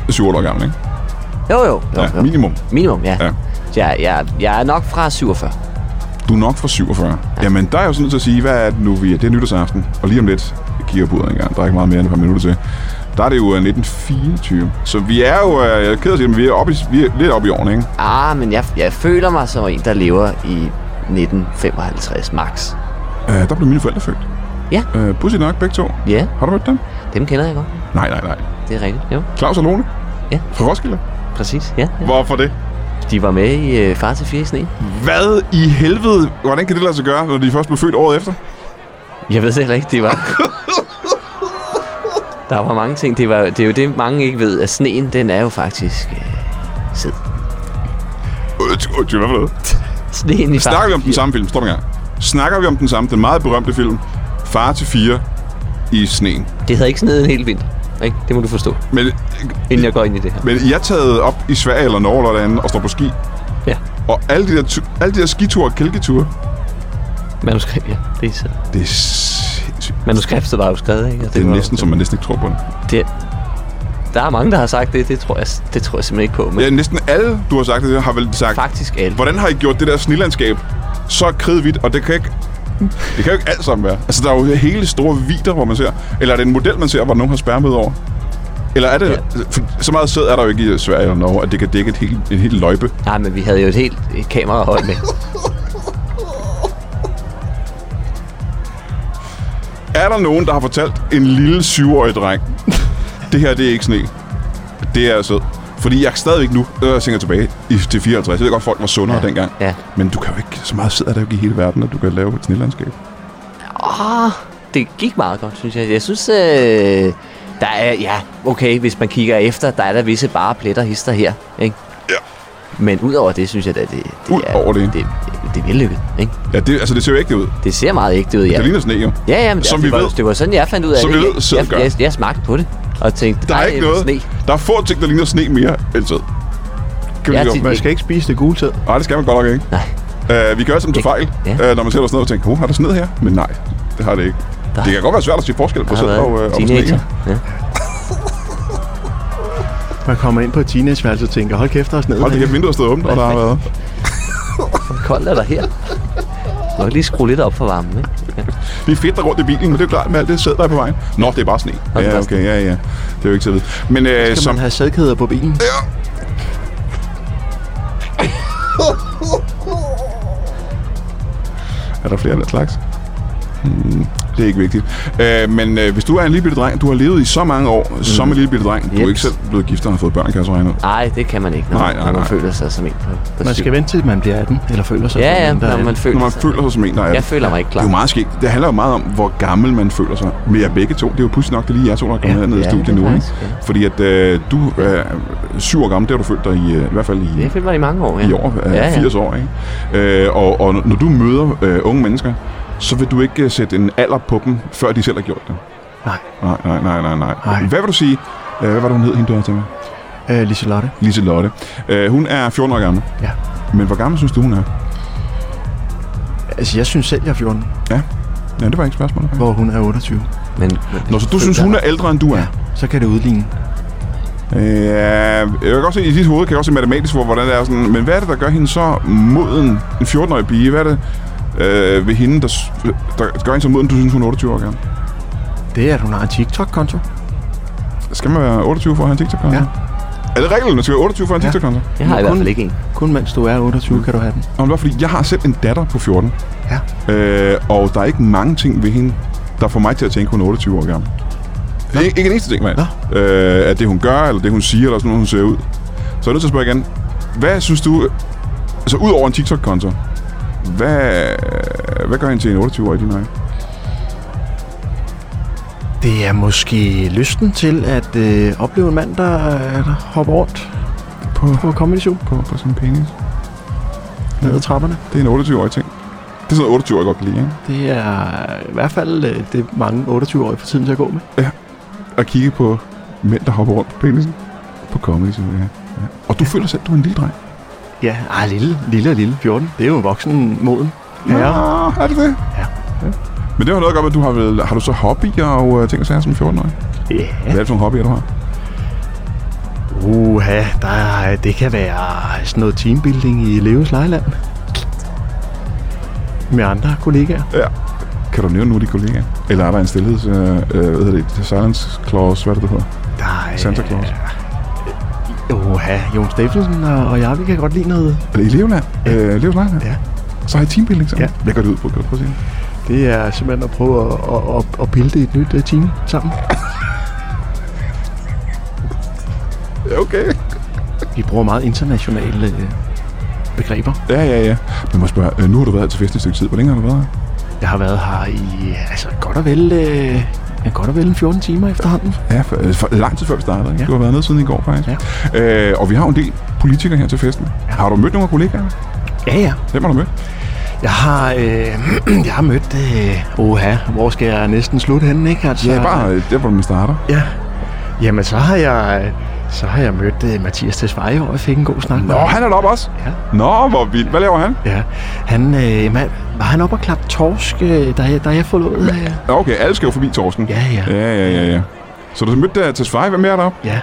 Speaker 1: 7 år gammel, ikke?
Speaker 2: jo jo. jo,
Speaker 1: Ja,
Speaker 2: jo.
Speaker 1: minimum.
Speaker 2: Minimum, ja.
Speaker 1: Ja.
Speaker 2: ja. Jeg, jeg, jeg er nok fra 47.
Speaker 1: Du er nok fra 47. Ja. Jamen, der er jo sådan nødt til at sige, hvad er det nu, vi er? Det er nytårsaften, og lige om lidt kigger på uret en gang. Der er ikke meget mere end et par minutter til. Der er det jo øh, 1924. Så vi er jo, øh, jeg er ked af at sige det, men vi er, oppe i, vi er lidt oppe i årene, ikke?
Speaker 2: Ah, men jeg, jeg føler mig som en, der lever i 1955 max.
Speaker 1: Øh, der blev mine forældre født.
Speaker 2: Ja.
Speaker 1: Øh, Pudsigt nok, begge to.
Speaker 2: Ja,
Speaker 1: Har du mødt dem?
Speaker 2: dem kender jeg godt.
Speaker 1: Nej, nej, nej.
Speaker 2: Det er rigtigt. Jo,
Speaker 1: Claus og Lone?
Speaker 2: Ja.
Speaker 1: Fra Roskilde?
Speaker 2: præcis. Ja. ja.
Speaker 1: Hvorfor det?
Speaker 2: De var med i øh, Far til 4 i sne.
Speaker 1: Hvad i helvede? Hvordan kan det lade sig gøre, når de først blev født året efter?
Speaker 2: Jeg ved heller ikke, det var... Der var mange ting. Det, var, det er jo det, mange ikke ved, at sneen, den er jo faktisk... Øh, sid.
Speaker 1: Øh, Undskyld, hvad for noget?
Speaker 2: Sneen i Far
Speaker 1: Snakker vi
Speaker 2: til
Speaker 1: om den
Speaker 2: Fire.
Speaker 1: samme film? Stop en gang. Snakker vi om den samme, den meget berømte film, Far til 4 i sneen?
Speaker 2: Det havde ikke sneet en hel vinter. Ikke? Det må du forstå,
Speaker 1: Men,
Speaker 2: inden jeg går ind i det her.
Speaker 1: men jeg er taget op i Sverige eller Norge eller andet og står på ski.
Speaker 2: Ja,
Speaker 1: Og alle de der, tu- alle de der skiture og kælketure,
Speaker 2: manuskript, ja. Det er så.
Speaker 1: det er sindssygt.
Speaker 2: Manuskriptet var jo skrevet, ikke? Og
Speaker 1: Det er
Speaker 2: var-
Speaker 1: næsten, som man næsten ikke tror på det.
Speaker 2: Det, der er mange, der har sagt det. Det tror jeg, det tror jeg simpelthen ikke på. Men
Speaker 1: Ja, næsten alle, du har sagt det, der, har vel sagt,
Speaker 2: faktisk alle.
Speaker 1: hvordan har I gjort det der snilandskab så kridhvidt, og det kan ikke det kan jo ikke alt sammen være. Altså, der er jo hele store vider, hvor man ser. Eller er det en model, man ser, hvor nogen har spærmet over? Eller er det... Ja. Så meget sæd er der jo ikke i Sverige eller Norge, at det kan dække et helt, en helt løjpe.
Speaker 2: Nej, men vi havde jo et helt et kamerahold med.
Speaker 1: Er der nogen, der har fortalt en lille syvårig dreng, det her det er ikke sne, det er sød? Fordi jeg er stadigvæk nu, øh, jeg tænker tilbage i, til 54. Jeg ved godt, folk var sundere ja. dengang.
Speaker 2: ja.
Speaker 1: Men du kan jo ikke, så meget sidder der jo ikke i hele verden, at du kan lave et snelandskab.
Speaker 2: Det gik meget godt, synes jeg. Jeg synes, øh, der er, ja, okay, hvis man kigger efter, der er der visse bare pletter hister her, ikke?
Speaker 1: Ja.
Speaker 2: Men udover det, synes jeg, at det, det
Speaker 1: Ud
Speaker 2: er...
Speaker 1: over det.
Speaker 2: det. Det er vellykket, ikke?
Speaker 1: Ja, det, altså det ser jo ikke ud.
Speaker 2: Det ser meget ægte ud, ja.
Speaker 1: Ja. Det ligner sne jo.
Speaker 2: Ja, ja, men
Speaker 1: Som
Speaker 2: altså,
Speaker 1: vi
Speaker 2: det, var,
Speaker 1: ved.
Speaker 2: det var sådan, jeg fandt ud af
Speaker 1: Som
Speaker 2: det.
Speaker 1: vi ved,
Speaker 2: Jeg-
Speaker 1: sidder gør.
Speaker 2: jeg, jeg, jeg, smagte på det, og tænkte,
Speaker 1: Der er
Speaker 2: "Ej,
Speaker 1: ikke noget.
Speaker 2: Sne.
Speaker 1: Der er få ting, der ligner sne mere end tid. Kan vi
Speaker 2: Ja,
Speaker 1: lige
Speaker 2: tit-
Speaker 1: op-
Speaker 4: Man skal ikke spise det gule tid.
Speaker 1: Nej, det skal man godt nok ikke.
Speaker 2: Nej,
Speaker 1: Uh, vi gør altid til fejl,
Speaker 2: Ja.
Speaker 1: uh, når man sætter os ned og tænker, oh, har der sned her? Men nej, det har det ikke.
Speaker 2: Der-
Speaker 1: Det kan godt være svært at se forskel på
Speaker 2: der har
Speaker 1: sæd øh, og,
Speaker 2: været
Speaker 1: uh, og sne.
Speaker 2: teenager.
Speaker 1: ikke?
Speaker 2: Ja.
Speaker 3: Man kommer ind på et teenageværelse og tænker, hold kæft, der er
Speaker 1: Hold da
Speaker 3: sådan
Speaker 1: kæft, vinduet stod åbent, og der har været...
Speaker 2: Hvor koldt er der her? Du kan lige skrue lidt op for varmen, ikke?
Speaker 1: Det er fedt, der rundt i bilen, men det er jo klart, med alt det sæd, der er på vejen. Nå, det er bare sne.
Speaker 2: det er
Speaker 1: Ja,
Speaker 2: bare
Speaker 1: okay, ja, ja. Det er jo ikke til at vide. Men øh,
Speaker 3: Skal
Speaker 1: som...
Speaker 3: man have sædkæder på bilen?
Speaker 1: Er der flere af den slags? Hmm, det er ikke vigtigt. Øh, men øh, hvis du er en lille bitte dreng, du har levet i så mange år mm. som en lille bitte dreng, du er
Speaker 2: Jeps.
Speaker 1: ikke selv blevet gift og har fået børn, kan jeg så regne ud.
Speaker 2: Nej, det kan man ikke, når,
Speaker 1: Nej,
Speaker 2: nej,
Speaker 1: nej,
Speaker 2: nej, når man
Speaker 1: nej.
Speaker 2: føler sig som en på, på
Speaker 3: Man
Speaker 2: syv.
Speaker 3: skal vente til man bliver 18, eller føler sig
Speaker 2: Ja,
Speaker 3: som
Speaker 2: ja,
Speaker 3: en, der er
Speaker 2: når
Speaker 3: 18.
Speaker 2: man føler
Speaker 1: Når man
Speaker 2: sig.
Speaker 1: føler sig som en, der er...
Speaker 2: Jeg føler mig ikke
Speaker 1: Det
Speaker 2: klar.
Speaker 1: er jo meget skægt. Det handler jo meget om, hvor gammel man føler sig med jer begge to. Det er jo pludselig nok, det er lige jer to, der er kommet ja,
Speaker 2: Ja,
Speaker 1: herned i
Speaker 2: ja,
Speaker 1: studiet
Speaker 2: det er
Speaker 1: nu. Ikke?
Speaker 2: faktisk, ja.
Speaker 1: Fordi at øh, du er syv år gammel, det har du følt dig i, øh, i hvert fald i,
Speaker 2: Jeg føler mig i mange år, ja.
Speaker 1: i år, øh,
Speaker 2: ja, ja.
Speaker 1: 80 år. Ikke? Øh, og, og når du møder øh, unge mennesker, så vil du ikke øh, sætte en alder på dem, før de selv har gjort det.
Speaker 3: Nej.
Speaker 1: Nej, nej, nej, nej. nej.
Speaker 3: Nej.
Speaker 1: Hvad vil du sige? Øh, hvad var det, hun hed, hende du havde til med?
Speaker 3: Øh, Liselotte.
Speaker 1: Lise Lotte. Øh, hun er 14 år gammel.
Speaker 3: Ja.
Speaker 1: Men hvor gammel synes du, hun er?
Speaker 3: Altså, jeg synes selv, jeg er 14,
Speaker 1: Ja, det var ikke spørgsmålet.
Speaker 3: hvor hun er 28.
Speaker 2: Men,
Speaker 1: Nå, så du synes, hun er ældre, end du er?
Speaker 3: Så kan det udligne.
Speaker 1: Ja, Øh, jeg kan godt se, i dit hoved kan jeg også se matematisk, hvor, hvordan det er sådan, men hvad er det, der gør hende så moden, en 14-årig pige? Hvad er det øh, ved hende, der, s- der gør hende så moden, du synes, hun er 28 år gammel?
Speaker 3: Det er, at hun har en TikTok-konto.
Speaker 1: Skal man være 28 for at have en TikTok-konto?
Speaker 3: Ja.
Speaker 1: Er det reglen, man skal være 28 for at have en
Speaker 3: Ja.
Speaker 1: TikTok-konto?
Speaker 2: Jeg har i hvert fald ikke en.
Speaker 3: Kun mens du er 28, kan du have den.
Speaker 1: Og det var, fordi jeg har selv en datter på 14,
Speaker 3: Mm. Ja.
Speaker 1: øh, og der er ikke mange ting ved hende, der får mig til at tænke, hun er 28 år gammel. Ik- ikke en eneste ting, mand. Øh, at det, hun gør, eller det, hun siger, eller sådan noget, hun ser ud. Så er jeg nødt til at spørge igen. Hvad synes du, altså ud over en TikTok-konto, hvad, hvad gør hende til en 28-årig i din øjne?
Speaker 3: Det er måske lysten til at øh, opleve en mand, der, øh, der hopper rundt
Speaker 1: På,
Speaker 3: på Comedy Zoo
Speaker 1: på, på sådan en penis.
Speaker 3: ned ad trapperne.
Speaker 1: Det er en 28-årig ting. Det er sådan noget, 28-årige godt kan lide, ikke?
Speaker 3: Det er i hvert fald øh, det, mange 28-årige for tiden til at gå med.
Speaker 1: At kigge på mænd, der hopper rundt på penisen. På comedy, så ja. ja. Og du føler selv, du er en lille dreng.
Speaker 3: Ja, ej, lille, lille og lille. 14. Det er jo voksen moden. Ja.
Speaker 1: Nå, er det det?
Speaker 3: Ja.
Speaker 1: Men det har noget at gøre med, at du har, vel, har du så hobbyer og øh, ting og sager som 14-årig?
Speaker 3: ja.
Speaker 1: Hvad er det for nogle hobbyer, du har?
Speaker 3: Uha, der er, det kan være sådan noget teambuilding i Leves Lejland. Med andre kollegaer.
Speaker 1: Ja. Kan du nævne nogle af de kollegaer? Eller er der en stillheds... Øh, øh, hvad hedder det? Silence clause, hvad er det, det hedder?
Speaker 3: Der er, øh,
Speaker 1: Santa Claus.
Speaker 3: Uha, Jon Steffensen og, og jeg, vi kan godt lide noget.
Speaker 1: Er det i Leveland? Ja. Øh, Leveland?
Speaker 3: Ja.
Speaker 1: Så har I teambuilding sammen?
Speaker 3: Ja.
Speaker 1: Hvad går det ud på? Kan du prøve at sige? det?
Speaker 3: Det er simpelthen at prøve at, at, at, at pille det i et nyt øh, team sammen.
Speaker 1: Ja, okay.
Speaker 3: Vi bruger meget internationale øh, begreber.
Speaker 1: Ja, ja, ja. Men må jeg spørge, øh, nu har du været her til fest i et stykke tid. Hvor længe har du været her?
Speaker 3: Jeg har været her i øh, altså, godt og vel, øh, ja, godt og vel en 14 timer efterhånden.
Speaker 1: Ja, for, øh, for, lang tid før vi startede. Ikke? Ja.
Speaker 3: Ja.
Speaker 1: Du har været nede siden i går, faktisk. Ja. Øh, og vi har jo en del politikere her til festen. Ja. Har du mødt nogle af kollegaerne?
Speaker 3: Ja, ja.
Speaker 1: Hvem har du mødt?
Speaker 3: Jeg har, øh, jeg har mødt... Øh, oha, hvor skal jeg næsten slutte henne, ikke? Altså,
Speaker 1: Ja, bare øh, der, hvor man starter.
Speaker 3: Ja. Jamen, så har jeg, øh, så har jeg mødt øh, Mathias Tesfaye, og jeg fik en god snak med
Speaker 1: Nå,
Speaker 3: ham.
Speaker 1: han er deroppe også?
Speaker 3: Ja.
Speaker 1: Nå, hvor vildt. Hvad laver han?
Speaker 3: Ja. Han, øh, man, var han oppe og klappe torsk, øh, da, jeg- da jeg forlod? Øh,
Speaker 1: Nå, okay, alle skal jo forbi Torsten.
Speaker 3: Ja, ja.
Speaker 1: Ja, ja, ja, ja. Så du har mødt uh, Tesfaye. Hvad mere er der?
Speaker 3: ja.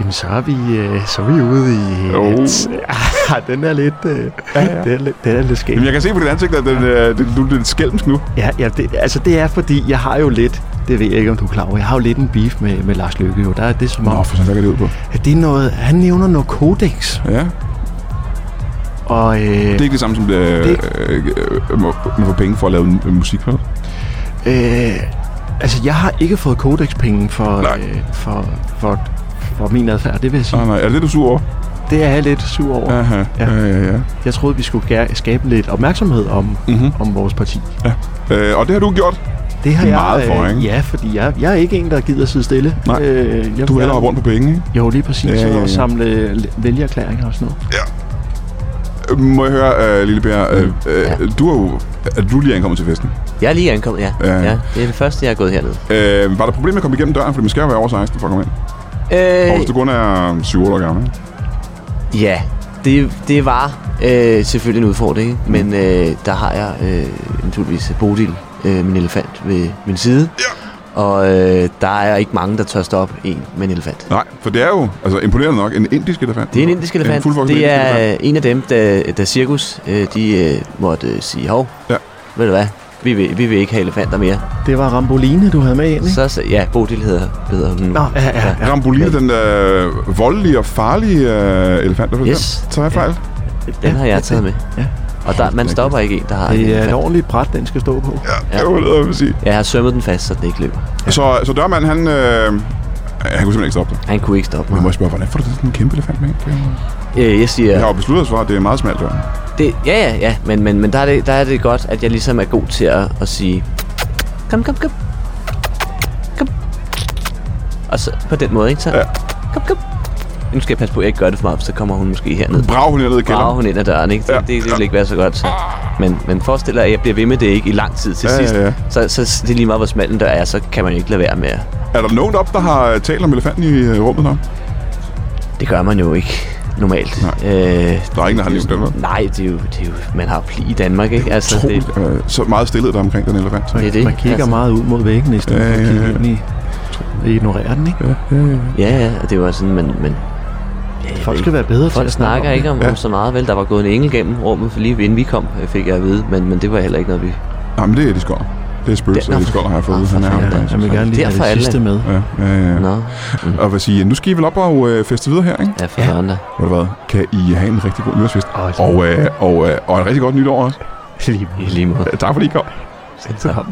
Speaker 3: Jamen, så er vi, øh, så er vi ude i...
Speaker 1: Jo.
Speaker 3: Ah, den er lidt... Øh, ja, ja. Den, er, lidt- den er lidt skæv.
Speaker 1: Jamen, jeg kan se på dit ansigt, at den, uh, den, du er lidt skælmsk nu.
Speaker 3: Ja, ja det, altså det er fordi, jeg har jo lidt... Det ved jeg ikke, om du er klar over. Jeg har jo lidt en beef med, med Lars Løkke. Jo. Der er det som om,
Speaker 1: for sådan, hvad går det ud på?
Speaker 3: at det er noget... Han nævner noget kodex,
Speaker 1: Ja,
Speaker 3: og... Øh,
Speaker 1: det er ikke det samme som, uh, det... Uh, man får penge for at lave en- en musik, vel?
Speaker 3: Øh, altså, jeg har ikke fået Codex-penge for,
Speaker 1: Nej.
Speaker 3: øh, for, for, for min adfærd, det vil jeg sige.
Speaker 1: Nej, nej. Er det det, du er sur over?
Speaker 3: Det er jeg lidt sur over.
Speaker 1: Aha. Ja,
Speaker 3: Ja.
Speaker 1: ja, ja.
Speaker 3: Jeg troede, vi skulle gær- skabe lidt opmærksomhed om,
Speaker 1: Mhm.
Speaker 3: mm-hmm. om vores parti.
Speaker 1: Uh, og det har du gjort.
Speaker 3: Det har
Speaker 1: Meget
Speaker 3: jeg... øh,
Speaker 1: for, ikke?
Speaker 3: Ja, fordi jeg, jeg er ikke en, der gider sidde stille.
Speaker 1: Nej.
Speaker 3: Øh, jeg,
Speaker 1: Du vil
Speaker 3: jeg,
Speaker 1: hellere hoppe rundt på penge, ikke?
Speaker 3: Jo, lige præcis.
Speaker 1: Ja, ja, ja.
Speaker 3: Og samle l- vælgererklæringer og sådan noget.
Speaker 1: Øh, Må jeg høre, uh, Lille Per, uh,
Speaker 2: Mm.
Speaker 1: uh, du er jo... Er du lige ankommet til festen?
Speaker 2: Jeg er lige ankommet, ja.
Speaker 1: Ja.
Speaker 2: ja. ja. Det er det første, jeg er gået herned. Øh,
Speaker 1: Uh, var der problemer med at komme igennem døren? Fordi man skal jo være over 16 for at komme ind. Og hvis du
Speaker 2: Øh,
Speaker 1: kun er 7 år gammel, ikke?
Speaker 2: ja, det, det var øh, selvfølgelig en udfordring, ikke?
Speaker 1: Mm.
Speaker 2: men øh, der har jeg øh, naturligvis Bodil, øh, min elefant, ved min side. Og øh, der er ikke mange, der tør stoppe en med en elefant.
Speaker 1: Nej, for det er jo altså, imponerende nok en indisk elefant.
Speaker 2: Det er en indisk elefant.
Speaker 1: fuldvoksen
Speaker 2: det
Speaker 1: indisk
Speaker 2: er
Speaker 1: elefant.
Speaker 2: øh, en af dem, der, der cirkus, øh, de øh, måtte øh, sige, hov,
Speaker 1: Ja.
Speaker 2: ved du hvad, vi vil, vi vil ikke have elefanter mere.
Speaker 4: Det var Ramboline, du havde med ind, ikke?
Speaker 2: Så, så ja, Bodil hedder, hedder hun nu.
Speaker 4: Mm. Nå, ja, ja. ja.
Speaker 1: Ramboline, den øh, voldelige og farlige øh, elefant, der
Speaker 2: Yes.
Speaker 1: Tager jeg fejl?
Speaker 2: Den har jeg taget med.
Speaker 4: Ja.
Speaker 2: Og der, man stopper ikke en, der har en
Speaker 4: Det er
Speaker 2: elefant.
Speaker 4: et ordentligt bræt, den skal stå på. Ja.
Speaker 1: Ja. Det var det, jeg vil sige.
Speaker 2: Jeg har sømmet den fast, så den ikke løber.
Speaker 1: Så, så dørmanden, han, øh, han kunne simpelthen ikke stoppe det.
Speaker 2: Han kunne ikke stoppe
Speaker 1: Vi
Speaker 2: mig.
Speaker 1: må spørge, hvordan får du sådan en kæmpe elefant med? Vi
Speaker 2: Øh, jeg siger,
Speaker 1: har jo besluttet os for, at det er en meget smalt dør.
Speaker 2: Det, ja, ja, ja, men, men, men der, er det, der er det godt, at jeg ligesom er god til at, at sige, kom, kom, kom, kom. Og så på den måde, ikke så?
Speaker 1: Ja.
Speaker 2: Kom, kom. Nu skal jeg passe på, at jeg ikke gør det for meget, for så kommer hun måske herned.
Speaker 1: Brav hun ned i
Speaker 2: Brager
Speaker 1: kælderen.
Speaker 2: hun ind ad døren, ikke? Det,
Speaker 1: Ja.
Speaker 2: ja. det, det vil ikke være så godt. Så. Men, men forestil dig, at jeg bliver ved med det ikke i lang tid til
Speaker 1: Ja, ja,
Speaker 2: sidst.
Speaker 1: ja.
Speaker 2: Så, så det er lige meget, hvor smal en dør er, så kan man jo ikke lade være med. at-
Speaker 1: Er der nogen op, der har øh, talt om elefanten i øh, rummet her?
Speaker 2: Det gør man jo ikke normalt.
Speaker 1: Nej.
Speaker 2: Øh,
Speaker 1: Der er ingen, der har nævnt den. vel?
Speaker 2: nej, det er, jo, det er jo... Man har jo pli i Danmark, ikke? Altså, det,
Speaker 1: Utroligt, øh, så meget stillhed der er omkring den elefant.
Speaker 2: det er det.
Speaker 4: Man kigger
Speaker 2: altså.
Speaker 4: meget ud mod væggen, i stedet for
Speaker 1: Ja,
Speaker 4: at
Speaker 1: ja,
Speaker 4: kigge
Speaker 1: ja.
Speaker 4: ind i ignorerer den, ikke?
Speaker 2: Ja, ja, og det var sådan, men, men
Speaker 4: Folk skal være bedre til
Speaker 2: folk
Speaker 4: at snakke
Speaker 2: snakker
Speaker 4: om
Speaker 2: ikke om, ja. om så meget, vel? Der var gået en engel gennem rummet, for lige inden vi kom, øh, fik jeg at vide, men, men det var heller ikke noget, vi...
Speaker 1: Nej, men det er Eddie Skoller. Det er spøgelset,
Speaker 2: Det-
Speaker 1: Eddie Skoller har jeg fået. ud. Han er
Speaker 2: Nå, for
Speaker 1: her.
Speaker 4: det. Ja, jeg vil gerne lige have
Speaker 2: Derfor
Speaker 4: det
Speaker 2: alle.
Speaker 4: sidste med.
Speaker 1: Ja, ja, ja.
Speaker 2: Nå,
Speaker 1: Og hvad siger, nu skal I vel op og øh, feste videre her, ikke?
Speaker 2: ja, for ja. andre.
Speaker 1: Hvor det hvad? Kan I have en rigtig god nytårsfest?
Speaker 4: Ej,
Speaker 1: Og, øh, og, øh, og et rigtig godt nytår også.
Speaker 4: Lige
Speaker 2: I lige måde.
Speaker 1: Ja, Tak fordi I kom.